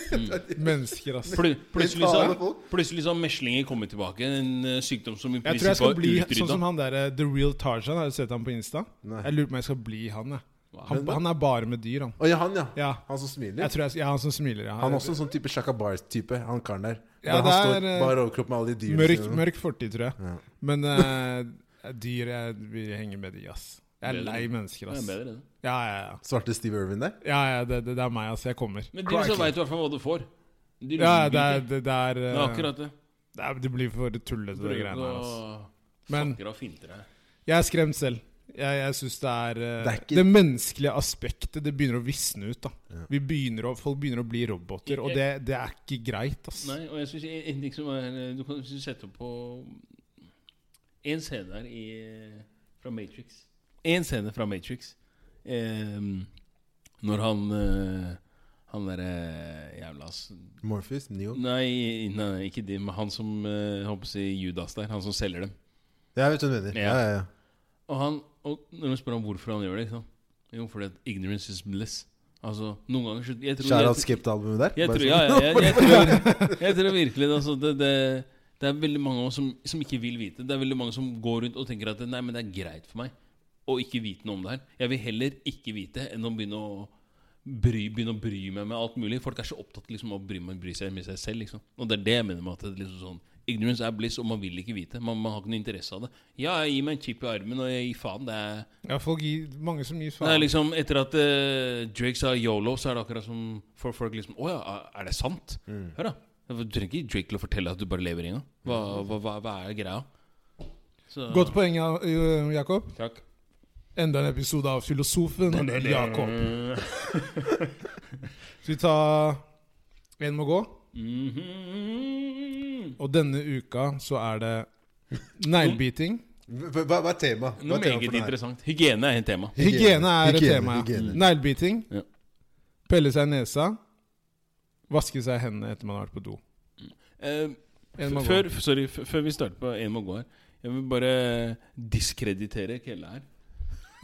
Speaker 1: [laughs]
Speaker 3: Mennesker, ass. [laughs]
Speaker 2: Plu- Plutselig så,
Speaker 1: Mentale folk.
Speaker 2: plutselig så har meslinger kommet tilbake. En eh, sykdom som i
Speaker 3: Jeg tror jeg
Speaker 2: prinsippet
Speaker 3: skal
Speaker 2: var
Speaker 3: bli sånn
Speaker 2: utrydda.
Speaker 3: som han derre The Real Tarzan. Har du sett ham på Insta?
Speaker 1: Nei.
Speaker 3: Jeg lurer på om jeg skal bli han, jeg. Han,
Speaker 1: Men-
Speaker 3: han er bare med dyr, han.
Speaker 1: Å ja, han ja.
Speaker 3: Ja.
Speaker 1: Han som smiler.
Speaker 3: Jeg tror jeg, ja, han som smiler, ja.
Speaker 1: Han er også en sånn type Shaka Bars-type, han karen der.
Speaker 3: Ja,
Speaker 1: Der
Speaker 3: det
Speaker 1: han
Speaker 3: er, eh,
Speaker 1: står bare overkropp med alle de dyrene
Speaker 3: Mørk,
Speaker 1: sine.
Speaker 3: mørk fortid, tror jeg.
Speaker 1: Ja.
Speaker 3: Men eh, dyr jeg vil henge med de, ass. Jeg er
Speaker 2: Bedre.
Speaker 3: lei mennesker,
Speaker 2: Det er
Speaker 3: ass. Ja,
Speaker 2: bedre, det.
Speaker 3: ja, ja.
Speaker 1: Svarte Steve Irwin der.
Speaker 3: ja, ja det, det, det er meg, ass. Jeg kommer.
Speaker 2: Men du så
Speaker 1: Crikey.
Speaker 2: veit du i hvert fall hva du får. Du
Speaker 3: Ja,
Speaker 2: lyver
Speaker 3: det er,
Speaker 2: ikke.
Speaker 3: det, det er,
Speaker 2: Det
Speaker 3: eh,
Speaker 2: er akkurat det.
Speaker 3: det, er det blir for tullete, det
Speaker 2: Prøver
Speaker 3: greiene her, ass.
Speaker 2: å
Speaker 3: Men
Speaker 2: snakker og finter her.
Speaker 3: jeg er skremt selv. Jeg, jeg syns det er eh,
Speaker 1: Det er ikke-
Speaker 3: Det menneskelige aspektet det begynner å visne ut. da Vi begynner å, Folk begynner å bli roboter, og det, det er ikke greit. ass
Speaker 2: Nei, og jeg synes en- en ting som er eh, Du kan sette på en scene her i, fra Matrix. En scene fra Matrix. Eh, når han eh, Han derre jævla s-
Speaker 1: Morpheus, Neo.
Speaker 2: Nei, nei, ikke de, men han som eh, jeg håper å si Judas der. Han som selger dem.
Speaker 1: Ja, jeg vet hva du mener.
Speaker 2: Ja.
Speaker 1: Ja, ja, ja.
Speaker 2: Og, han, og når du spør ham hvorfor han gjør det ikke sant? Jo, fordi at ignorance is bliss. Altså, noen ganger så- jeg tror-
Speaker 1: Skjær av
Speaker 2: jeg-
Speaker 1: Skipt-albumet der.
Speaker 2: Jeg
Speaker 1: Bare
Speaker 2: tror,
Speaker 1: sånn.
Speaker 2: ja, ja,
Speaker 1: [laughs]
Speaker 2: jeg, jeg, tror, jeg tror virkelig det, altså, det, det. Det er veldig mange av oss som, som ikke vil vite. Det er veldig mange som går rundt og tenker at Nei, men det er greit for meg å ikke vite noe om det her. Jeg vil heller ikke vite enn å begynne å bry, begynne å bry meg med alt mulig. Folk er så opptatt liksom, av å bry, meg, bry seg med seg selv. Liksom. Og det er det jeg mener med at det er liksom sånn Ignorance er bliss, og man vil ikke vite. Man, man har ikke noe interesse av det. Ja, jeg gir meg en chip i armen, og jeg gir faen. Det er
Speaker 3: Ja, folk gir, mange som gir
Speaker 2: det er
Speaker 3: faen.
Speaker 2: liksom Etter at eh, Drake sa yolo, så er det akkurat som for folk liksom Å ja, er det sant?
Speaker 1: Mm.
Speaker 2: Hør, da. Du trenger ikke Drake til å fortelle at du bare lever engang. Hva, hva, hva, hva er greia? Så,
Speaker 3: Godt poeng, ja, eh, Jakob.
Speaker 2: Takk.
Speaker 3: Enda en episode av Filosofen Jakob. Skal vi ta En må gå?
Speaker 2: Mhm.
Speaker 3: Og denne uka så er det
Speaker 2: [laughs]
Speaker 3: neglebiting.
Speaker 1: Hva, hva- hva er temaet?
Speaker 2: Noe meget interessant. Hygiene er et tema.
Speaker 3: Hygiene er et
Speaker 1: Hygiene,
Speaker 3: tema. ja.
Speaker 1: hygiene.
Speaker 3: Neglebiting.
Speaker 2: Ja.
Speaker 3: Pelle seg i nesa. Vaske seg i hendene etter man har vært på do.
Speaker 2: Eh,
Speaker 3: En må
Speaker 2: f-
Speaker 3: gå.
Speaker 2: før, f- sorry, f før vi starter på En må gå her, jeg vil bare diskreditere Kelle her.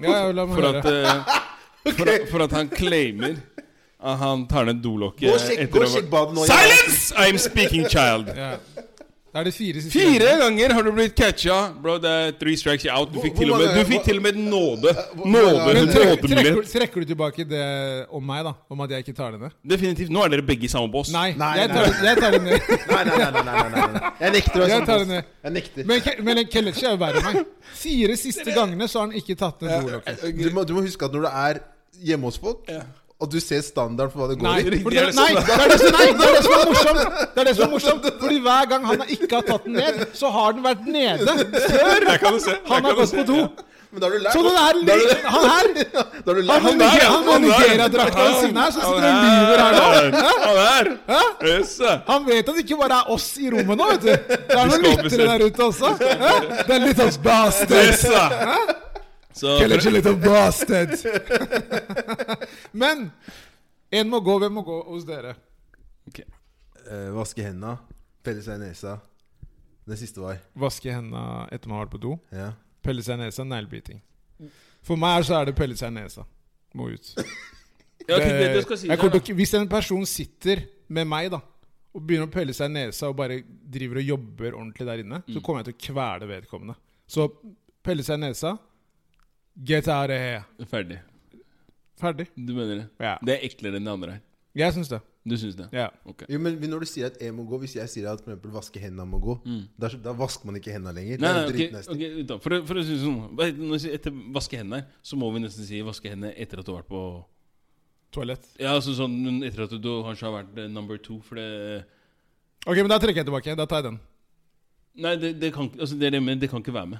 Speaker 3: Ja, ja, la meg
Speaker 2: For at,
Speaker 3: høre.
Speaker 2: eh, for, at- for at han claimer at han tar ned dolokket
Speaker 1: Gå og sjekk-
Speaker 2: eh, etter
Speaker 1: gå og
Speaker 2: å ha-
Speaker 1: sjekk badet nå, Jan.
Speaker 2: Silence! I'm speaking child.
Speaker 3: Ja. Er det fire siste
Speaker 2: Fire ganger har du blitt catcha. Bro, det er three strikes you're out. Du fikk
Speaker 1: Hvor-
Speaker 2: til og med,
Speaker 1: hvor mange-
Speaker 2: du fikk til og med nåde.
Speaker 1: hvor-
Speaker 2: Nåde,
Speaker 1: hvor-
Speaker 3: Men trekker, trekker,
Speaker 2: nådemulighet.
Speaker 3: trekker du tilbake det om meg, da? Om at jeg ikke tar det ned?
Speaker 2: Definitivt. Nå er dere begge i samme bås.
Speaker 3: Nei,
Speaker 1: Nei,
Speaker 3: jeg,
Speaker 1: nei.
Speaker 3: tar, jeg tar det ned.
Speaker 1: Nei, nei, nei, nei, nei, nei, nei, nei. Jeg nekter å
Speaker 3: Jeg
Speaker 1: være
Speaker 3: tar
Speaker 1: sånn.
Speaker 3: det ned.
Speaker 1: Jeg nekter.
Speaker 3: Men, Ke- men Kellechi er jo verre enn meg. Fire siste gangene så har han ikke tatt ned dolokket.
Speaker 1: Du må, du må huske at når du er hjemme hos folk, og du ser standarden for hva det går
Speaker 3: Nei,
Speaker 1: i [laughs]
Speaker 3: for
Speaker 2: Det
Speaker 3: det,
Speaker 2: er det
Speaker 3: nei,
Speaker 2: som er-
Speaker 3: det er det som, nei, det er det som er morsomt! Det er det som er morsomt Fordi hver gang han ikke har tatt den ned, så har den vært nede før
Speaker 2: Der kan du se. Der kan
Speaker 3: han har
Speaker 2: du
Speaker 3: gått
Speaker 2: se.
Speaker 3: på do.
Speaker 1: Men da har du lært
Speaker 3: Så den
Speaker 1: da har
Speaker 3: her,
Speaker 1: du-
Speaker 3: han her
Speaker 1: da har du
Speaker 3: Han
Speaker 1: lært
Speaker 3: med
Speaker 2: der,
Speaker 3: Nigeria- han med
Speaker 2: der.
Speaker 3: Nigeria-drakta ved siden her, så sitter han og lyver her nå.
Speaker 2: Han der. Han der. Yes.
Speaker 3: Han vet at det ikke bare er oss i rommet nå, vet du. Det er noen
Speaker 2: skal
Speaker 3: lyttere
Speaker 2: oppbesøke.
Speaker 3: der ute også. Hæ? Det er litt sånn av bastards.
Speaker 2: Yes. Så
Speaker 3: Kellechi litt av bastards. Men en må gå, hvem må gå hos dere?
Speaker 2: Ok.
Speaker 1: Eh, Vaske hendene, pelle seg i nesa. Den siste var
Speaker 3: Vaske hendene etter man har vært på do.
Speaker 1: ja.
Speaker 3: Pelle seg i nesa, neglebiting. For meg så er det pelle seg i nesa. Må ut.
Speaker 2: Ja, ok, det, det skal sies
Speaker 3: jeg
Speaker 2: her,
Speaker 3: kommer til
Speaker 2: da.
Speaker 3: å- hvis en person sitter med meg da og begynner å pelle seg i nesa og bare driver og jobber ordentlig der inne,
Speaker 1: Mm.
Speaker 3: så kommer jeg til å kvele vedkommende. Så pelle seg i nesa Get out of here.
Speaker 2: Ferdig.
Speaker 3: Ferdig.
Speaker 2: Du mener det?
Speaker 3: Ja.
Speaker 2: Det er eklere enn det andre her.
Speaker 3: Jeg syns det.
Speaker 2: Du syns det?
Speaker 3: Ja.
Speaker 2: Ok.
Speaker 1: Jo, men når du sier at jeg må gå Hvis jeg sier at for eksempel vaske hendene må gå, da, da vasker man ikke hendene lenger. Det
Speaker 2: Mm. Nei,
Speaker 1: er
Speaker 2: nei,
Speaker 1: jo
Speaker 2: ok,
Speaker 1: dritnasty.
Speaker 2: ok, da, for, å- for å si det sånn hva heter det Når vi sier etter vaske hendene, her, så må vi nesten si vaske hendene etter at du har vært på
Speaker 3: Toalett.
Speaker 2: Ja, altså sånn men etter at du kanskje har vært eh, number two, for det
Speaker 3: Ok, men da trekker jeg tilbake. Da tar jeg den.
Speaker 2: Nei, det, det kan ikke altså det, er det, med, det kan ikke være med.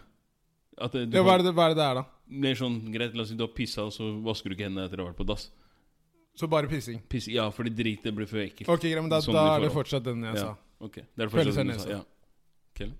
Speaker 2: At eh, du
Speaker 3: Ja, hva,
Speaker 2: har-
Speaker 3: er det, hva er det det er, da?
Speaker 2: blir sånn Greit, la oss si du har pissa, og så vasker du ikke hendene etter å ha vært på dass.
Speaker 3: Så bare pissing.
Speaker 2: Piss, ja, fordi drit det blir for ekkelt.
Speaker 3: Ok, greit, men da,
Speaker 2: Sånn
Speaker 3: da
Speaker 2: i
Speaker 3: er det
Speaker 2: forhold.
Speaker 3: fortsatt den jeg
Speaker 2: Ja,
Speaker 3: sa.
Speaker 2: ok Det er det
Speaker 3: Føler
Speaker 2: første
Speaker 3: seg
Speaker 2: som du sa.
Speaker 3: nedsatt.
Speaker 2: Ja.
Speaker 3: [laughs]
Speaker 2: Kjell?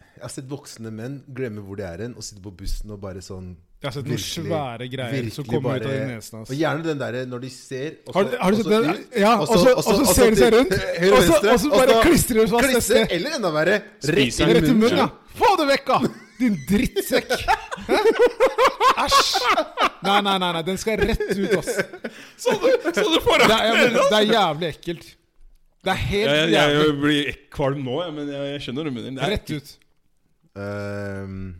Speaker 1: Jeg har sett voksne menn glemme hvor de er hen, og sitte på bussen og bare sånn
Speaker 3: Jeg har sett noen
Speaker 1: virkelig-
Speaker 3: svære greier som
Speaker 1: virkelig
Speaker 3: kommer ut av
Speaker 1: bare-
Speaker 3: de nesene hans.
Speaker 1: Og gjerne den derre når de ser og så-
Speaker 3: Har du, har
Speaker 1: og
Speaker 3: du sett
Speaker 1: så
Speaker 3: den?
Speaker 1: ut,
Speaker 3: Ja, og så- og så ser de seg
Speaker 1: til
Speaker 3: rundt,
Speaker 1: høyre og
Speaker 3: og så-
Speaker 1: venstre,
Speaker 3: og så bare
Speaker 1: og
Speaker 3: klistrer de fast
Speaker 1: klistrer,
Speaker 3: neste.
Speaker 1: Eller enda verre, rett
Speaker 2: Spiser
Speaker 1: inn i
Speaker 3: Rett i munnen, ja.
Speaker 1: munnen.
Speaker 3: Få det vekk, da! Din
Speaker 1: [laughs]
Speaker 3: drittsekk. Hæ? Æsj. Nei, nei, nei, nei, den skal rett ut, ass.
Speaker 2: Så du, så du får
Speaker 3: Det er, ja, men, det er jævlig ekkelt. Det er
Speaker 2: Jeg, jeg,
Speaker 3: helt
Speaker 2: jeg,
Speaker 3: jævlig.
Speaker 2: blir kvalm nå, jeg, men jeg, jeg skjønner hva du mener. Det er
Speaker 3: Rett ut.
Speaker 1: Ehm,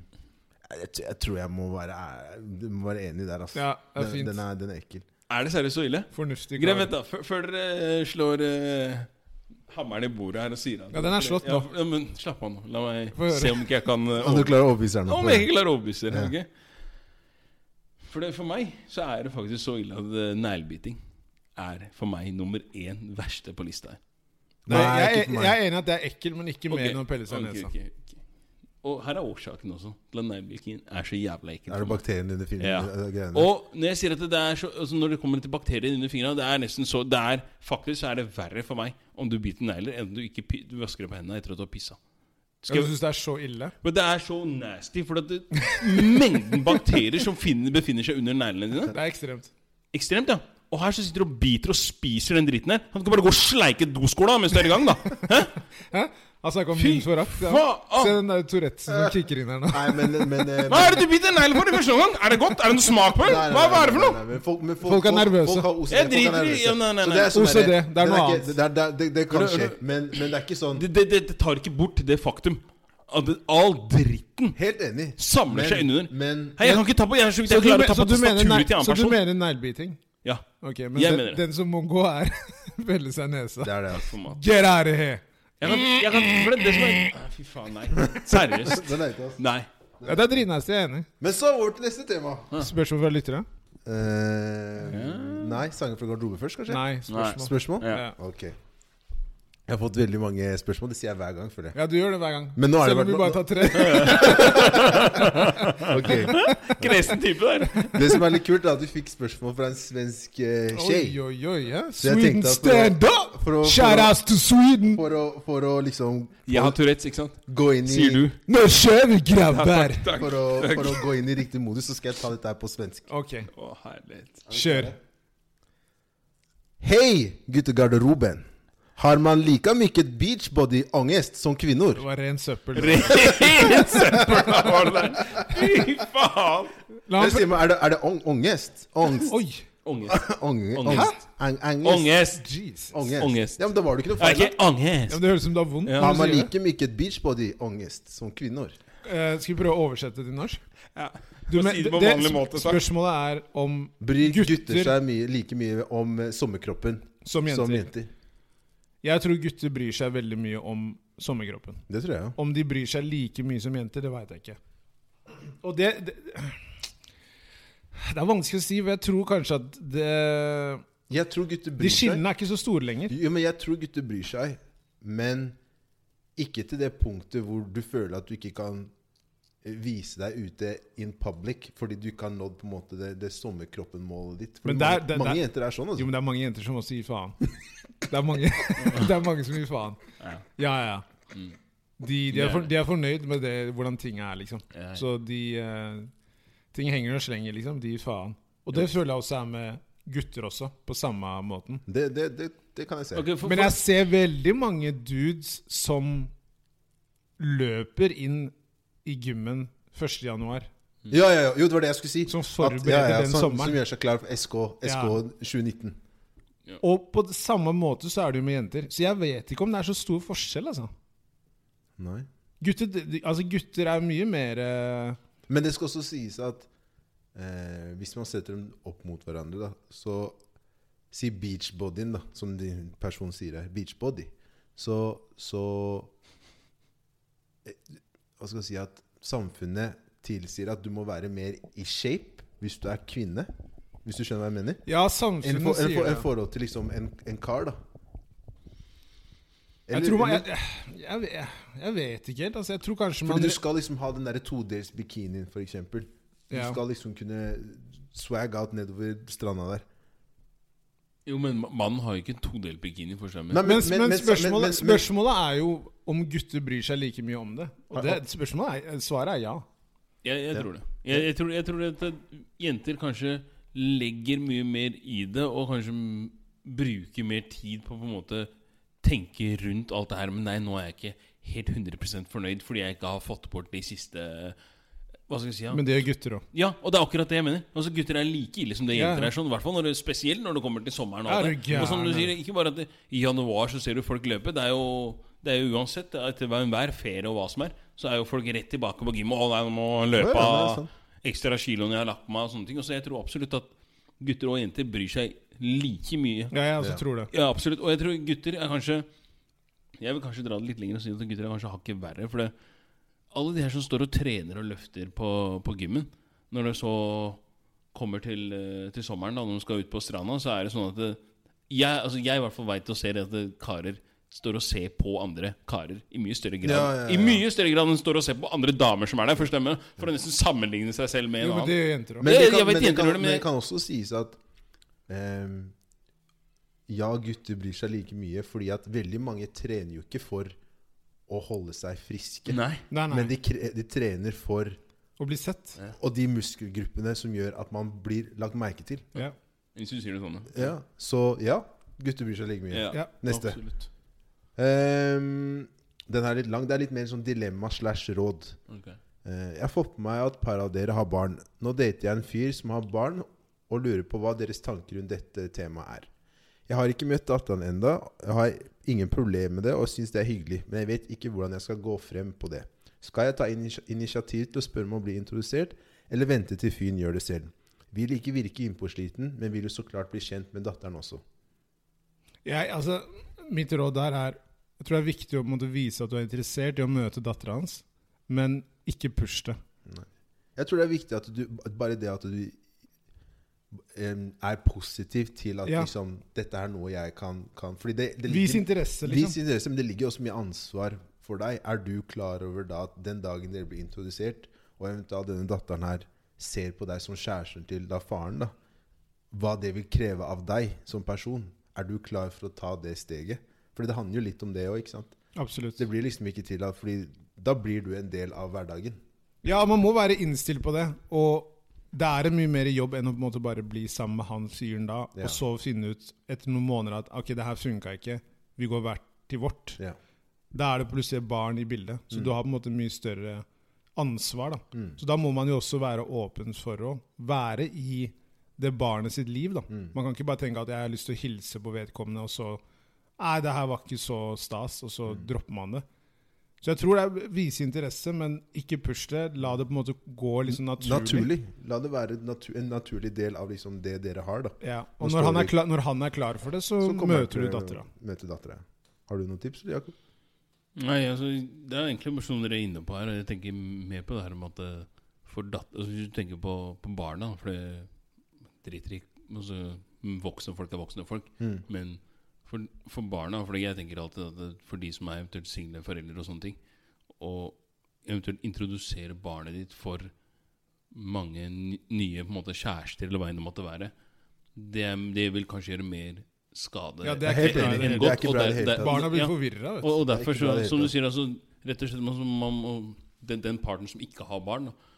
Speaker 1: jeg, t- jeg tror jeg må være, jeg må være enig der, altså.
Speaker 3: Ja, det er
Speaker 1: Den-
Speaker 3: fint.
Speaker 1: Den, er, den er ekkel.
Speaker 2: Er det seriøst så ille?
Speaker 3: Fornuftig.
Speaker 2: Greit, vent da.
Speaker 3: kar.
Speaker 2: Før- Før dere eh, slår eh, hammeren i bordet her og sier at
Speaker 3: Ja, den er slått
Speaker 2: Ja,
Speaker 3: nå.
Speaker 2: f- Ja, men slapp av nå. La meg
Speaker 3: Få høre.
Speaker 2: se om ikke jeg kan eh,
Speaker 1: Om du
Speaker 2: over-
Speaker 1: klarer å overbevise deg
Speaker 2: Om jeg
Speaker 1: nå.
Speaker 2: ikke klarer å overbevise dere. ok? For, det- for meg så er det faktisk så ille at eh, neglebiting er for meg nummer én verste på lista her.
Speaker 1: Nei,
Speaker 3: Nei, jeg,
Speaker 1: ikke for meg.
Speaker 3: jeg er enig at det er ekkelt, men ikke mer
Speaker 2: Ok,
Speaker 3: enn å pelle seg i
Speaker 2: ok,
Speaker 3: nesa.
Speaker 2: ok, ok. Og her er årsaken også til at neglebitingen er så jævla ekkel.
Speaker 1: Er det
Speaker 2: for meg.
Speaker 1: bakteriene dine filmer?
Speaker 2: Ja.
Speaker 1: eh, greiene?
Speaker 2: Og når jeg sier at det er så, altså når det kommer til bakterier under fingrene Det er nesten så det er, Faktisk så er det verre for meg om du biter negler enn om du ikke pi- du vasker deg på hendene etter at du har pissa.
Speaker 3: Ja,
Speaker 2: Skal
Speaker 3: Du
Speaker 2: jeg-
Speaker 3: syns det er så ille?
Speaker 2: Men det er så nasty, for at det, mengden bakterier som finner, befinner seg under neglene dine
Speaker 3: Det er ekstremt.
Speaker 2: Ekstremt, ja. Og her så sitter du og biter og spiser den dritten her. Han kan bare gå og sleike doskåla mens du er i gang, da. Hæ?
Speaker 3: Hæ? Han snakka om Nils for rakt. Ja.
Speaker 2: faen!
Speaker 3: Se den der Tourettesen som kicker inn her nå.
Speaker 1: Nei, men, men eh,
Speaker 2: Ah, [laughs] Hva er det du biter negl for i første omgang? Er det godt? Er det noe smak på det?
Speaker 1: Nei, nei,
Speaker 2: Hva,
Speaker 1: nei,
Speaker 2: hva er det for
Speaker 1: nei,
Speaker 2: noe?
Speaker 1: nei, men folk, men
Speaker 3: Folk er
Speaker 1: folk-
Speaker 3: nervøse.
Speaker 1: Folk har OCD, folk
Speaker 2: Jeg
Speaker 1: er
Speaker 2: driter i-
Speaker 1: nervøse.
Speaker 2: ja, nei, nei,
Speaker 1: Så det er sånn
Speaker 3: OCD,
Speaker 1: derre-
Speaker 3: det er
Speaker 1: den
Speaker 3: noe
Speaker 1: ikke-
Speaker 3: annet.
Speaker 1: Det, er- det, er- det, det kan
Speaker 2: Hører-
Speaker 1: skje,
Speaker 2: hører-
Speaker 1: men, men det er ikke sånn
Speaker 2: Det, det, det, det tar ikke bort det faktum at det- all dritten
Speaker 1: Helt enig.
Speaker 2: samler seg
Speaker 1: Men-
Speaker 2: innunder.
Speaker 1: men-
Speaker 2: Hei, jeg kan ikke ta på Jeg er så vidt jeg
Speaker 3: Så du,
Speaker 2: klarer å ta
Speaker 3: men- så
Speaker 2: på
Speaker 3: du mener,
Speaker 2: tastaturet til en
Speaker 3: nei,
Speaker 2: annen
Speaker 3: så du
Speaker 2: person.
Speaker 3: mener neglebiting?
Speaker 2: Ja.
Speaker 3: Ok, men
Speaker 2: Jeg
Speaker 3: den,
Speaker 2: mener det.
Speaker 3: den som må gå, er [laughs] Felle seg nesa.
Speaker 1: Det er det. altså.
Speaker 2: Format.
Speaker 3: Get out of here!
Speaker 2: Jeg kan, jeg kan for det, det som er Ah, Fy faen, nei. Seriøst.
Speaker 1: Den er ikke, altså.
Speaker 2: Nei.
Speaker 3: Ja, det er eh? dritnice, jeg er enig.
Speaker 1: Men så over til neste tema.
Speaker 3: Spørsmål fra lyttere?
Speaker 1: Eh, nei, sanger fra garderobe først, kanskje?
Speaker 3: Nei. Spørsmål.
Speaker 1: Spørsmål?
Speaker 2: Ja.
Speaker 3: Ja.
Speaker 1: Ok. Jeg har fått veldig mange spørsmål. Det sier jeg hver gang, føler jeg.
Speaker 3: ja, du gjør det hver gang.
Speaker 1: Men nå er det
Speaker 3: Selv om
Speaker 1: vært-
Speaker 3: vi bare tar tre.
Speaker 1: Ok.
Speaker 2: Kresen type der.
Speaker 1: [laughs] Det som er litt kult, er at vi fikk spørsmål fra en svensk eh,
Speaker 3: Oi,
Speaker 1: skje.
Speaker 3: oi, oi. Ja.
Speaker 1: jeg
Speaker 3: Sweden
Speaker 1: tenkte at-
Speaker 3: stand up!
Speaker 1: for å- for
Speaker 3: Shout
Speaker 1: å-
Speaker 3: outs to Sweden!
Speaker 1: For å, for å liksom
Speaker 2: Jeg har Tourettes, ikke sant?
Speaker 1: gå inn i
Speaker 2: Sier du.
Speaker 3: Nå kjører vi, grabber!
Speaker 1: [laughs]
Speaker 2: Takk.
Speaker 1: For
Speaker 2: [laughs]
Speaker 1: å, for å gå inn i riktig modus, så skal jeg ta dette her på svensk.
Speaker 3: Ok,
Speaker 2: Å, herlighet.
Speaker 3: kjør.
Speaker 1: Hej guttegarderoben! Har man lika mycket beachbody-ångest som kvinnor?
Speaker 3: Det var ren søppel.
Speaker 2: Ren søppel av alle der. Fy faen.
Speaker 3: La
Speaker 1: Jeg
Speaker 3: han
Speaker 1: [laughs] sier meg, er det, er det ång ångest?
Speaker 3: [laughs]
Speaker 1: Ångst?
Speaker 3: Oi!
Speaker 2: Ångest.
Speaker 1: Ång-
Speaker 2: Ångest.
Speaker 1: Ångst? Ang- Angest?
Speaker 2: Ångest.
Speaker 3: Jesus.
Speaker 1: Ångest.
Speaker 2: Ångest.
Speaker 1: Ja, men da var det ikke noe
Speaker 2: Er
Speaker 1: feil.
Speaker 2: ikke ångest.
Speaker 3: Ja, men det høres ut som du har vondt.
Speaker 2: Ja.
Speaker 1: da. Har
Speaker 3: når du
Speaker 1: man
Speaker 3: sier det.
Speaker 1: lika mycket beachbody-ångest som kvinnor?
Speaker 3: Eh, skal vi prøve å oversette det til norsk?
Speaker 2: Ja.
Speaker 3: Du,
Speaker 2: Må
Speaker 3: men,
Speaker 2: si det
Speaker 3: det,
Speaker 2: på vanlig måte, takk.
Speaker 3: spørsmålet er om
Speaker 1: Bryr gutter,
Speaker 3: gutter
Speaker 1: seg mye, like mye om eh, sommerkroppen
Speaker 3: som jenter.
Speaker 1: som jenter?
Speaker 3: Jeg tror gutter bryr seg veldig mye om sommerkroppen.
Speaker 1: Det tror jeg, ja.
Speaker 3: Om de bryr seg like mye som jenter, det veit jeg ikke. Og det, det Det er vanskelig å si, for jeg tror kanskje at det
Speaker 1: Jeg tror gutter
Speaker 3: De
Speaker 1: bryr seg.
Speaker 3: skillene er ikke så store lenger.
Speaker 1: Jo, men jeg tror gutter bryr seg, men ikke til det punktet hvor du føler at du ikke kan eh, vise deg ute in public fordi du ikke har nådd på en måte det, det sommerkroppen-målet ditt. For
Speaker 3: Men
Speaker 1: mange,
Speaker 3: der- der-
Speaker 1: mange
Speaker 3: der-
Speaker 1: jenter er sånn,
Speaker 3: Jo,
Speaker 1: altså.
Speaker 3: men det er mange jenter som også gir faen. Det er mange, [laughs] det er mange som gir faen.
Speaker 2: Ja.
Speaker 3: Ja, ja. De, de, er for, de er fornøyd med det, hvordan ting er, liksom.
Speaker 2: Ja, ja.
Speaker 3: Så de eh, Ting henger og slenger, liksom. De gir faen. Og det føler jeg også er med gutter også, på samme måten.
Speaker 1: Det, det, det, det kan jeg se.
Speaker 2: Ok, for-
Speaker 3: Men jeg ser veldig mange dudes som løper inn i gymmen 1. januar.
Speaker 1: Ja, ja, ja, jo, det var det jeg skulle si.
Speaker 3: Som forbereder den
Speaker 1: som,
Speaker 3: sommeren.
Speaker 1: Som gjør seg klar for SK, SK 2019.
Speaker 3: Og på det samme måte så er det jo med jenter. Så jeg vet ikke om det er så stor forskjell, altså.
Speaker 1: Nei.
Speaker 3: Gutter, de- de- altså gutter er mye mer eh,
Speaker 1: Men det skal også sies at eh, hvis man setter dem opp mot hverandre, da, så Si beachbodyen, da, som de personen sier her. Beachbody. Så, så eh, Hva skal jeg si at Samfunnet tilsier at du må være mer i shape hvis du er kvinne. Hvis du skjønner hva jeg mener?
Speaker 3: Ja,
Speaker 1: Enn
Speaker 3: samfunnet
Speaker 1: for, enn
Speaker 3: sier
Speaker 1: for, enn
Speaker 3: det.
Speaker 1: forhold til liksom en, en kar, da.
Speaker 3: Jeg tror man jeg, jeg, jeg, jeg vet ikke helt. Altså, jeg tror kanskje man
Speaker 1: Fordi du skal liksom ha den derre todels bikinien, for eksempel. Du
Speaker 3: Ja.
Speaker 1: skal liksom kunne swag out nedover stranda der.
Speaker 2: Jo, men ma- mannen har jo ikke en todelt bikini for seg. Men
Speaker 1: Nei,
Speaker 3: Men, men,
Speaker 1: men-
Speaker 3: spørsmålet,
Speaker 1: men-
Speaker 3: spørsmålet er jo om gutter bryr seg like mye om det. Og det, spørsmålet er, svaret er ja.
Speaker 2: jeg, jeg
Speaker 1: Ja.
Speaker 2: tror det. Jeg, jeg, tror, jeg tror at eh, jenter kanskje legger mye mer i det, og kanskje m- bruker mer tid på å på en måte tenke rundt alt det her. Men nei, nå er jeg ikke helt 100 fornøyd fordi jeg ikke har fått bort de siste eh, Hva skal jeg si? Ja?
Speaker 3: Men det gjør gutter òg.
Speaker 2: ja, og det er akkurat det jeg mener. Altså Gutter er like ille som det
Speaker 3: Ja.
Speaker 2: jenter er. sånn I hvert fall når det, spesielt når det kommer til sommeren. Og,
Speaker 3: Er
Speaker 2: alt
Speaker 3: du
Speaker 2: det. og som du
Speaker 3: gæren,
Speaker 2: sier, ikke bare at det, i januar så ser du folk løpe. Det er jo, det er jo uansett, etter hver- enhver ferie og hva som er, så er jo folk rett tilbake på gymmet. 'Å nei, nå må
Speaker 1: Ja, ja,
Speaker 2: jeg
Speaker 1: det
Speaker 2: løpe
Speaker 1: er
Speaker 2: av
Speaker 1: sant.
Speaker 2: ekstra kiloene jeg har lagt på meg', og sånne ting. Og så jeg tror absolutt at gutter og jenter bryr seg like mye.
Speaker 3: Ja, jeg også
Speaker 1: Ja.
Speaker 3: tror det.
Speaker 2: Ja, absolutt. Og jeg tror gutter er kanskje Jeg vil kanskje dra det litt lenger og si at gutter er kanskje hakket verre. For det, alle de her som står og trener og løfter på, på gymmen, når det så kommer til, eh, til sommeren, da, når de skal ut på stranda, så er det sånn at det, jeg, altså jeg i hvert fall veit og ser at det, karer står og ser på andre karer i mye større grad
Speaker 1: Ja, ja, ja.
Speaker 2: I mye større grad enn står og ser på andre damer som er der, for stemme, for å nesten sammenligne seg selv med
Speaker 3: Jo,
Speaker 2: en
Speaker 3: men
Speaker 2: annen.
Speaker 3: det gjør jenter òg.
Speaker 1: Men
Speaker 2: Det-
Speaker 1: det
Speaker 2: jeg
Speaker 1: kan,
Speaker 2: vet
Speaker 1: men det
Speaker 2: jenter
Speaker 1: kan,
Speaker 2: gjør det, men
Speaker 1: men det
Speaker 2: jeg-
Speaker 1: kan også sies at ehm, Ja, gutter bryr seg like mye fordi at veldig mange trener jo ikke for å holde seg friske.
Speaker 2: Nei.
Speaker 3: Nei, nei.
Speaker 1: Men de, kre- de trener for
Speaker 3: Å bli sett.
Speaker 1: Og de muskelgruppene som gjør at man blir lagt merke til.
Speaker 3: Ja.
Speaker 2: Hvis du sier det sånn, ja.
Speaker 1: Ja. Så ja, gutter bryr seg like mye.
Speaker 2: ja.
Speaker 3: Ja.
Speaker 1: Neste.
Speaker 2: Absolutt.
Speaker 1: Ehm, Den er litt lang. Det er litt mer sånn dilemma slash råd.
Speaker 2: Ok.
Speaker 1: Eh, Jeg får på meg at par av dere har barn. Nå dater jeg en fyr som har barn, og lurer på hva deres tanker rundt dette temaet er. Jeg har ikke møtt datteren enda, jeg har ingen problemer med det og syns det er hyggelig, men jeg vet ikke hvordan jeg skal gå frem på det. Skal jeg ta inis- initiativ til å spørre om å bli introdusert, eller vente til fyren gjør det selv? Vil ikke virke innpåsliten, men vil jo så klart bli kjent med datteren også.
Speaker 3: Jeg, altså, mitt råd der er Jeg tror det er viktig å måtte vise at du er interessert i å møte dattera hans, men ikke push det.
Speaker 1: Jeg tror det er viktig at du at Bare det at du em, er positiv til at
Speaker 3: Ja.
Speaker 1: liksom, dette er noe jeg kan, kan Fordi det, det
Speaker 3: Vis
Speaker 1: ligger-
Speaker 3: interesse,
Speaker 1: Vis
Speaker 3: liksom.
Speaker 1: interesse, men det ligger også mye ansvar for deg. Er du klar over da at den dagen dere blir introdusert, og eventuelt denne datteren her ser på deg som kjæresten til da faren, da, hva det vil kreve av deg som person? Er du klar for å ta det steget? Fordi det handler jo litt om det òg, ikke sant?
Speaker 3: Absolutt.
Speaker 1: Det blir liksom ikke til at Fordi da blir du en del av hverdagen.
Speaker 3: Ja, man må være innstilt på det. Og det er en mye mer jobb enn å på en måte bare bli sammen med han fyren da,
Speaker 1: Ja.
Speaker 3: og så finne ut etter noen måneder at ok, det her funka ikke, vi går hvert til vårt.
Speaker 1: Ja.
Speaker 3: Da er det plutselig barn i bildet.
Speaker 1: Mm.
Speaker 3: Så du har på en måte mye større ansvar. da. Så da må man jo også være åpen for å være i det barnet sitt liv. da.
Speaker 1: Mm.
Speaker 3: Man kan ikke bare tenke at jeg har lyst til å hilse på vedkommende, og så Nei, det her var ikke så stas, og så
Speaker 1: Mm.
Speaker 3: dropper man det. Så jeg tror det er vise interesse, men ikke push det. La det på en måte gå liksom naturlig.
Speaker 1: Naturlig. La det være et natu en naturlig del av liksom det dere har, da.
Speaker 3: Ja. Og
Speaker 1: Nå
Speaker 3: når han,
Speaker 1: står
Speaker 3: er
Speaker 1: vi-
Speaker 3: klar, når han er klar for det, så,
Speaker 1: Så kommer jeg
Speaker 3: møter du
Speaker 1: til å
Speaker 3: dattera.
Speaker 1: møte dattera. Har du noen tips, Jakob?
Speaker 2: Nei, altså, Det er egentlig bare som dere er inne på her. og Jeg tenker mer på det her med at eh, for datt, altså, Hvis du tenker på, på barna For det driter i altså, Voksne folk er voksne folk.
Speaker 1: Mm.
Speaker 2: Men for, for barna For jeg tenker alltid at det- for de som er eventuelt single foreldre og sånne ting Og eventuelt introdusere barnet ditt for mange ny- nye på en måte kjærester, eller hva enn det måtte være, det, det vil kanskje gjøre mer skade
Speaker 3: Ja, det er
Speaker 2: enn-
Speaker 3: ikke bra i det
Speaker 2: enn
Speaker 3: hele tatt.
Speaker 2: godt,
Speaker 1: Det er ikke
Speaker 2: og
Speaker 1: bra i det hele tatt.
Speaker 3: Barna blir
Speaker 2: ja.
Speaker 3: forvirra, vet du.
Speaker 2: Og, og
Speaker 1: Det er ikke
Speaker 2: derfor, så,
Speaker 1: bra i det hele
Speaker 2: som du
Speaker 1: tatt.
Speaker 2: sier, altså, rett og slett man, man må, den, den parten som ikke har barn, da,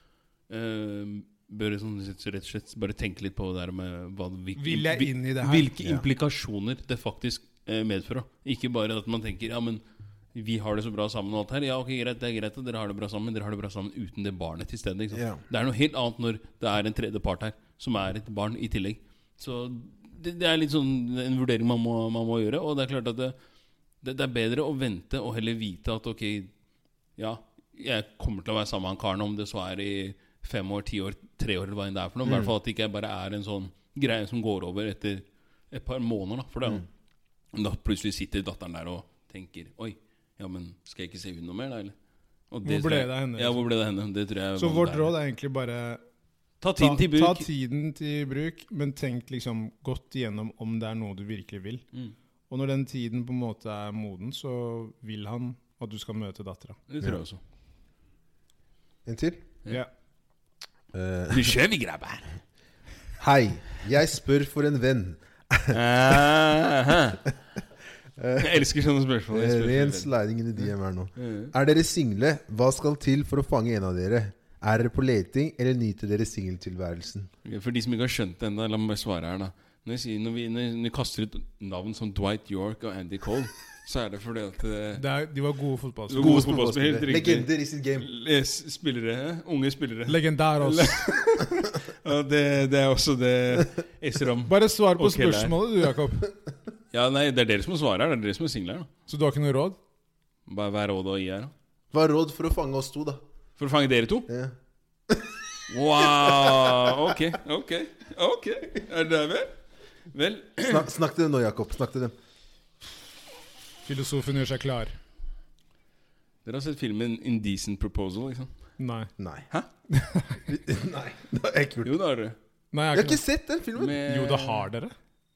Speaker 2: eh, bør sånn, sett- rett og slett bare tenke litt på det der med hva, hvil-
Speaker 3: Vil jeg
Speaker 2: hvil-
Speaker 3: inn i det her?
Speaker 2: hvilke
Speaker 1: Ja.
Speaker 2: implikasjoner det faktisk eh, medfører. da. Ikke bare at man tenker ja, men vi har det så bra sammen og alt her. Ja, ok, greit, det er greit at dere har det bra sammen, men dere har det bra sammen uten det barnet til stede. Ikke sant?
Speaker 1: Ja.
Speaker 2: Det er noe helt annet når det er en tredje part her, som er et barn i tillegg. Så det, det er litt sånn en vurdering man må, man må gjøre. Og det er klart at det, det, det er bedre å vente og heller vite at ok, ja, jeg kommer til å være sammen med han karen om det så er i fem år, ti år, tre år, eller hva enn det er for noe. I
Speaker 3: Mm.
Speaker 2: hvert fall at det ikke bare er en sånn greie som går over etter et par måneder, da. For det
Speaker 3: Mm.
Speaker 2: er jo da plutselig sitter datteren der og tenker Oi, ja, men skal jeg ikke se hun noe mer, da, eller? Og
Speaker 3: Hvor
Speaker 2: tror
Speaker 3: ble
Speaker 2: jeg-
Speaker 3: det av henne,
Speaker 2: Ja,
Speaker 3: liksom?
Speaker 2: hvor ble det av henne? Det tror jeg
Speaker 3: Så
Speaker 2: var
Speaker 3: vårt
Speaker 2: der.
Speaker 3: råd er egentlig bare
Speaker 2: Ta
Speaker 3: Ta,
Speaker 2: tiden til
Speaker 3: ta
Speaker 2: bruk.
Speaker 3: tiden til bruk, men tenk liksom godt igjennom om det er noe du virkelig vil.
Speaker 2: Mm.
Speaker 3: Og når den tiden på en måte er moden, så vil han at du skal møte dattera.
Speaker 2: Det tror jeg også.
Speaker 1: En til?
Speaker 3: Ja.
Speaker 1: Eh,
Speaker 2: Nu kör vi grabbar!
Speaker 1: hei, jeg spør for en venn.
Speaker 2: [laughs] Jeg elsker sånne spørsmål.
Speaker 1: Eh,
Speaker 2: Jeg spør
Speaker 1: Ren
Speaker 2: for
Speaker 1: sliding inn i DM her nå.
Speaker 2: det.
Speaker 1: Er dere single? Hva skal til for å fange en av dere? Er dere på leting, eller nyter dere singeltilværelsen?
Speaker 2: Ok, For de som ikke har skjønt det ennå, la meg bare svare her, da. Når, jeg sier, når, vi, når vi kaster ut navn som Dwight York og Andy Cole, så er det fordi at eh,
Speaker 3: Det er, de var gode fotballspillere.
Speaker 2: Gode fotballspillere, helt riktig.
Speaker 1: Legender i sitt game.
Speaker 2: les- eh, spillere, unge spillere
Speaker 3: Legendær også.
Speaker 2: Og det, det er også det Esram
Speaker 3: Bare svar på
Speaker 2: Ok, der.
Speaker 3: spørsmålet du, Jakob.
Speaker 2: Ja, nei, det er dere som svarer her. Det er dere som er single her. da
Speaker 3: Så du har ikke noe råd?
Speaker 2: Bare hva er rådet å gi her, da?
Speaker 1: Hva er råd for å fange oss to, da?
Speaker 2: For å fange dere to?
Speaker 1: Ja.
Speaker 2: Wow! Ok, ok. ok Er det vel? Vel,
Speaker 1: Snak, snakk til dem nå, Jakob. Snakk til dem.
Speaker 3: Filosofen gjør seg klar.
Speaker 2: dere har sett filmen 'Indecent Proposal'? ikke sant?
Speaker 3: Nei.
Speaker 1: Nei.
Speaker 2: Hæ?
Speaker 1: [laughs] Nei, det har jeg ikke gjort.
Speaker 2: Jo, det har dere.
Speaker 1: Jeg har
Speaker 3: Nei, jeg har
Speaker 1: ikke
Speaker 3: ikke
Speaker 1: sett den filmen.
Speaker 2: Med-
Speaker 3: noe. Jo, det har dere.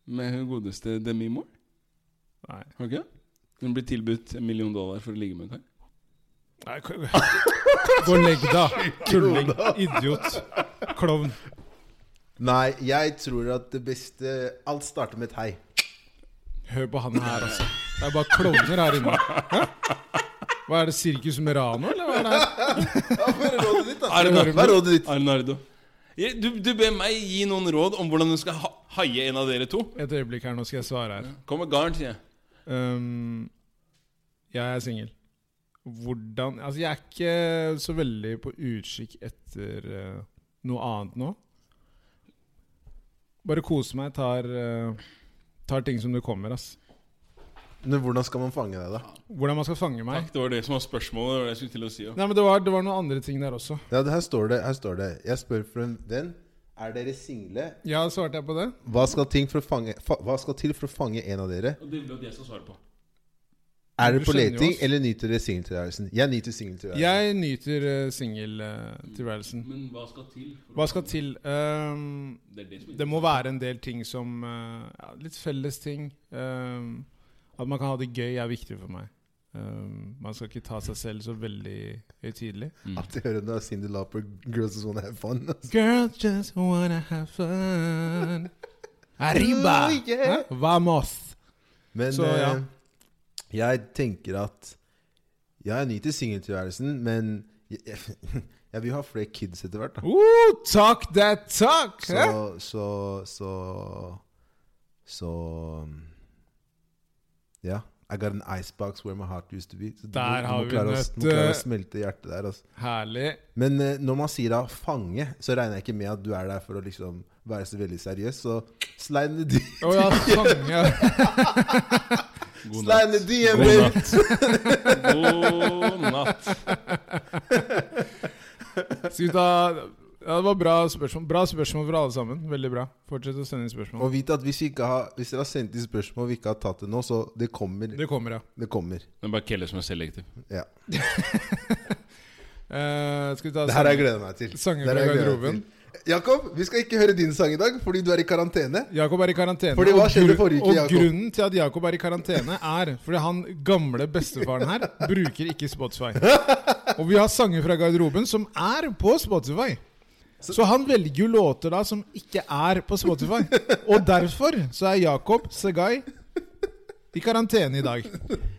Speaker 2: Med hun godeste Demi Moore.
Speaker 3: [laughs] Nei.
Speaker 2: Har du ikke? det? Hun blir tilbudt en million dollar for å ligge med en kar.
Speaker 3: Nei, k- Gå og legg deg, da. Tulling. Idiot. Klovn.
Speaker 1: Nei, jeg tror at det beste Alt starter med et hei.
Speaker 3: Hør på han her, altså. Det er bare klovner her inne. Hæ? Hva er det, Sirkus Merano, eller hva er det her?
Speaker 1: Ja, Hva er rådet ditt, da?
Speaker 2: Arnardo.
Speaker 1: Hva er rådet ditt?
Speaker 2: Arnardo. Ja, Du, du ber meg gi noen råd om hvordan du skal ha haie en av dere to.
Speaker 3: Et øyeblikk her, nå skal jeg svare her.
Speaker 2: Kom med garn, sier jeg.
Speaker 3: Ehm, jeg er singel. hvordan Altså, jeg er ikke så veldig på utkikk etter eh, noe annet nå. Bare kose meg. Tar, eh, tar ting som det kommer, ass.
Speaker 1: Men hvordan skal man fange det, da?
Speaker 3: Hvordan man skal fange meg?
Speaker 2: Takk, det var det som var spørsmålet. Det var det jeg skulle til å si. Ja.
Speaker 3: Nei, men det var, det var noen andre ting der også.
Speaker 1: Ja, det her står det. Her står det. Jeg spør for en venn. Er dere single?
Speaker 3: Ja, svarte jeg på det?
Speaker 1: Hva skal, ting for å fange, fa, hva skal til for å fange en av dere?
Speaker 2: Og det vil jo at jeg skal svare på.
Speaker 1: Er dere
Speaker 3: Du
Speaker 1: på
Speaker 3: skjønner jo
Speaker 1: leting,
Speaker 3: oss.
Speaker 1: eller nyter dere singeltilværelsen? Jeg nyter singeltilværelsen.
Speaker 3: Jeg nyter uh, singeltilværelsen.
Speaker 2: Men hva skal til? for å-
Speaker 3: Hva skal til? Ehm,
Speaker 2: Det er det som
Speaker 3: det må være en del ting som eh, ja, Litt felles ting. Ehm, at man kan ha det gøy, er viktig for meg. Ehm, man skal ikke ta seg selv så veldig høytidelig.
Speaker 1: At jeg hører når Cindy Lauper, Girls Just Wanna Have Fun.
Speaker 3: Girls just wanna have fun. Arriba!
Speaker 1: Ooh, yeah.
Speaker 3: Hæ? Vamos!
Speaker 1: Men
Speaker 3: Så, ja.
Speaker 1: eh, jeg tenker at Ja, jeg nyter singeltilværelsen, men jeg, [laughs] jeg, jeg vil ha flere kids etter hvert. da.
Speaker 3: Ooh, talk that talk!
Speaker 1: Så,
Speaker 3: hæ?
Speaker 1: så, så, så um, Ja. I got an icebox where my heart used to be. Så du må-
Speaker 3: Der
Speaker 1: du
Speaker 3: har
Speaker 1: må
Speaker 3: vi
Speaker 1: klare å,
Speaker 3: nødt,
Speaker 1: du må klare
Speaker 3: eh,
Speaker 1: å smelte hjertet der. Altså.
Speaker 3: Herlig.
Speaker 1: Men eh, når man sier da 'fange', så regner jeg ikke med at du er der for å liksom være så veldig seriøs. Så slide the,
Speaker 3: [laughs] Å ja, sånn, ja.
Speaker 2: God
Speaker 1: slide the DM,
Speaker 2: God
Speaker 1: baby!
Speaker 2: natt. God
Speaker 3: [laughs]
Speaker 2: natt.
Speaker 3: Skal vi ta ja, Det var bra spørsmål Bra spørsmål fra alle sammen. Veldig bra. Fortsett å sende inn spørsmål.
Speaker 1: Og vit at hvis, vi ikke har, hvis dere har sendt inn spørsmål vi ikke har tatt det nå, så det kommer.
Speaker 3: Det kommer, ja.
Speaker 1: Det kommer.
Speaker 2: Det er bare Kelle som er selektiv.
Speaker 1: Ja.
Speaker 3: Eh, skal vi ta
Speaker 1: Det her har jeg gleda meg til.
Speaker 3: Sanger
Speaker 1: Det her har
Speaker 3: fra
Speaker 1: jeg gledet meg til. Jakob, vi skal ikke høre din sang i dag fordi du er i karantene.
Speaker 3: Jakob er i karantene.
Speaker 1: Fordi hva
Speaker 3: og
Speaker 1: skjedde
Speaker 3: gru-
Speaker 1: forrige uke,
Speaker 3: Og
Speaker 1: Jakob?
Speaker 3: grunnen til at Jakob er i karantene, er fordi han gamle bestefaren her bruker ikke Spotify. Og vi har sanger fra garderoben som er på Spotify. Så han velger jo låter da som ikke er på Spotify. Og derfor så er Jakob Segai i karantene i dag.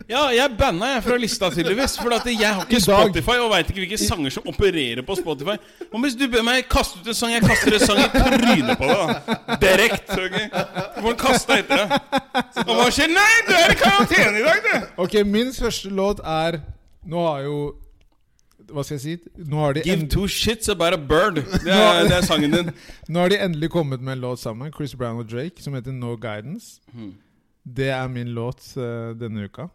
Speaker 2: Ja, jeg banna jeg fra lista, tydeligvis. For at jeg har ikke
Speaker 3: I dag.
Speaker 2: Spotify og veit ikke hvilke sanger som opererer på Spotify. Og hvis du ber meg kaste ut en sang, jeg kaster en sang i trynet på deg. da. Direkte. ok? Du får den kasta etter deg. Og hva skjer? Nei, du er i karantene i dag, du!
Speaker 3: Ok, min første låt er Nå har jo Hva skal jeg si? Nå har de,
Speaker 2: Give
Speaker 3: end,
Speaker 2: two shits about a bird. Det er, det er sangen din.
Speaker 3: nå har de endelig kommet med en låt sammen, Chris Brown og Drake, som heter No Guidance.
Speaker 2: Hmm.
Speaker 3: Det er min låt eh, denne uka.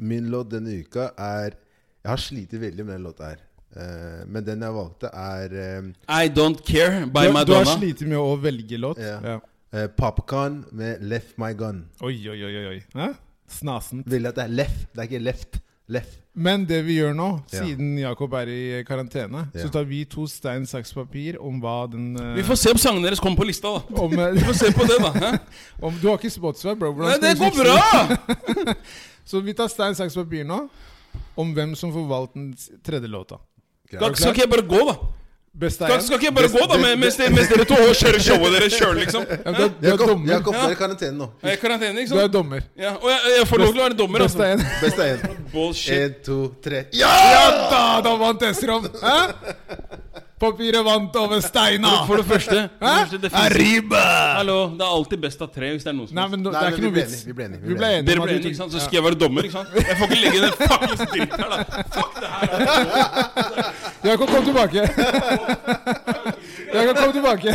Speaker 1: Min låt denne uka er Jeg har slitt veldig med den låta her. Eh, men den jeg valgte, er eh,
Speaker 2: I Don't Care
Speaker 3: Du,
Speaker 2: by
Speaker 3: har- du har
Speaker 2: Madonna.
Speaker 3: slitt med å velge låt.
Speaker 1: Ja.
Speaker 3: Ja.
Speaker 1: eh, eh, Popcorn med 'Left My Gun'.
Speaker 3: Oi, oi, oi, oi. oi. Hæ? Snasen.
Speaker 1: Veldig at det er left, det er ikke left. Left.
Speaker 3: Men det vi gjør nå,
Speaker 1: Ja.
Speaker 3: siden Jakob er i karantene,
Speaker 1: Ja.
Speaker 3: så tar vi to stein, saks, papir om hva den eh,
Speaker 2: Vi får se om sangene deres kommer på lista, da.
Speaker 3: om, eh,
Speaker 2: Vi får se på det, da. Hæ?
Speaker 3: [laughs] om, Du har ikke Spotify, bro.
Speaker 2: Nei,
Speaker 3: Hvordan skal
Speaker 2: det
Speaker 3: vi
Speaker 2: går
Speaker 3: fikse
Speaker 2: bra!
Speaker 3: Så vi tar stein, saks, papir nå om hvem som får valgt den s- tredje låta.
Speaker 2: Skal, skal ikke jeg bare gå, da?
Speaker 3: Best er
Speaker 2: Skal,
Speaker 3: én.
Speaker 2: skal ikke jeg bare gå, da, med- mens, dere- mens dere to kjører showet deres sjøl, liksom?
Speaker 3: Ja,
Speaker 2: Hæ?
Speaker 3: du, er- du er
Speaker 1: Jakob,
Speaker 3: dommer.
Speaker 1: Jakob, du er i
Speaker 2: Ja.
Speaker 1: karantene nå.
Speaker 2: Jeg er i karantene, ikke
Speaker 3: Du er
Speaker 2: sant?
Speaker 3: dommer.
Speaker 2: Ja, og jeg, jeg får lov til å være dommer,
Speaker 3: Best Eh,
Speaker 2: altså.
Speaker 3: er én.
Speaker 1: Best er én.
Speaker 2: Bullshit.
Speaker 1: Én, to, tre. Ja!
Speaker 3: Ja da, da vant Esrom! Hæ? Papiret vant over steina!
Speaker 2: For det første, for det første det finnes-
Speaker 3: Arriba!
Speaker 2: Hallo, det er alltid best av tre hvis det er noen som
Speaker 3: Nei, men det
Speaker 1: Nei,
Speaker 3: er
Speaker 1: men
Speaker 3: ikke
Speaker 1: vi
Speaker 3: noe
Speaker 1: ble
Speaker 3: vits.
Speaker 1: enige, vi ble enige, vi
Speaker 3: Vi
Speaker 1: ble
Speaker 3: ble
Speaker 1: enige.
Speaker 2: Dere
Speaker 3: enige om
Speaker 2: ble
Speaker 3: at
Speaker 2: enige,
Speaker 3: vi
Speaker 2: ikke
Speaker 3: tok
Speaker 2: sant? Så skal jeg være dommer, ikke sant? Jeg får ikke legge den fuckings dritten her, da. Fuck det her. da.
Speaker 3: Jakob, kom tilbake. Jakob, kom tilbake.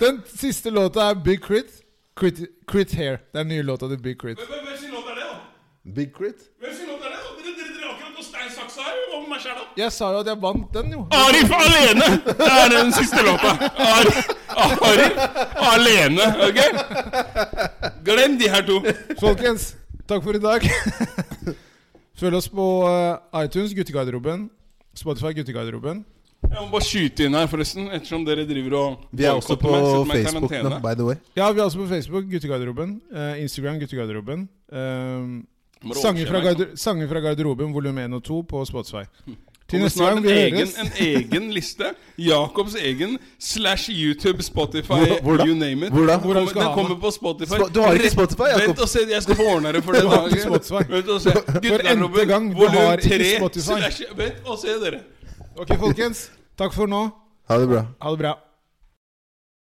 Speaker 3: Den siste låta er Big Crit. Crit, Crit Hair. Det er den nye låta til Big Crit.
Speaker 2: Hvem hvem sin låt er det, da?
Speaker 1: Big crit.
Speaker 2: Hvem sin låt er det, da? Dere dere dere har akkurat noe steinsaks her over meg sjæl, da.
Speaker 3: Jeg sa jo at jeg vant
Speaker 1: Ah,
Speaker 3: den, jo.
Speaker 2: Arif alene! Det er den siste låta. Arif, Arif alene, ok? Glem de her to.
Speaker 3: Folkens, takk for i dag. Følg oss på eh, iTunes, Guttegarderoben. Spotify, Guttegarderoben.
Speaker 2: Jeg må bare skyte inn her, forresten, ettersom dere driver og
Speaker 1: Vi er også
Speaker 2: boykotter
Speaker 1: på
Speaker 2: meg, setter meg i
Speaker 1: Facebook nå,
Speaker 2: karantene.
Speaker 1: by the way.
Speaker 3: Ja, vi er også på Facebook, Guttegarderoben. Eh, Instagram, Guttegarderoben. Eh,
Speaker 2: Må du
Speaker 3: Sanger
Speaker 2: overse
Speaker 3: fra,
Speaker 2: meg, liksom.
Speaker 3: garder sanger fra garderoben volum 1 og 2 på Spotify. Til
Speaker 2: Kommer
Speaker 3: neste
Speaker 2: snart
Speaker 3: gang vi
Speaker 2: en egen,
Speaker 3: høres
Speaker 2: en egen liste. Jakobs egen slash YouTube, Spotify,
Speaker 1: Hvor- hvordan?
Speaker 2: you name it.
Speaker 1: Hvordan?
Speaker 2: Kommer,
Speaker 3: Hvordan skal
Speaker 2: den
Speaker 3: han-
Speaker 2: kommer på Spotify.
Speaker 1: Spo- du har ikke
Speaker 2: Rett-
Speaker 1: Spotify, Jakob?
Speaker 2: Vent og se, jeg skal få ordne det for det.
Speaker 3: Du har ikke
Speaker 2: da.
Speaker 3: Spotify.
Speaker 2: Vent og se. Guttegarderoben,
Speaker 3: gang, du
Speaker 2: volum
Speaker 3: har ikke
Speaker 2: 3
Speaker 3: Spotify.
Speaker 2: slash- Vent og se, dere.
Speaker 3: Ok, folkens. Takk for nå.
Speaker 1: Ha det bra.
Speaker 3: Ha det bra.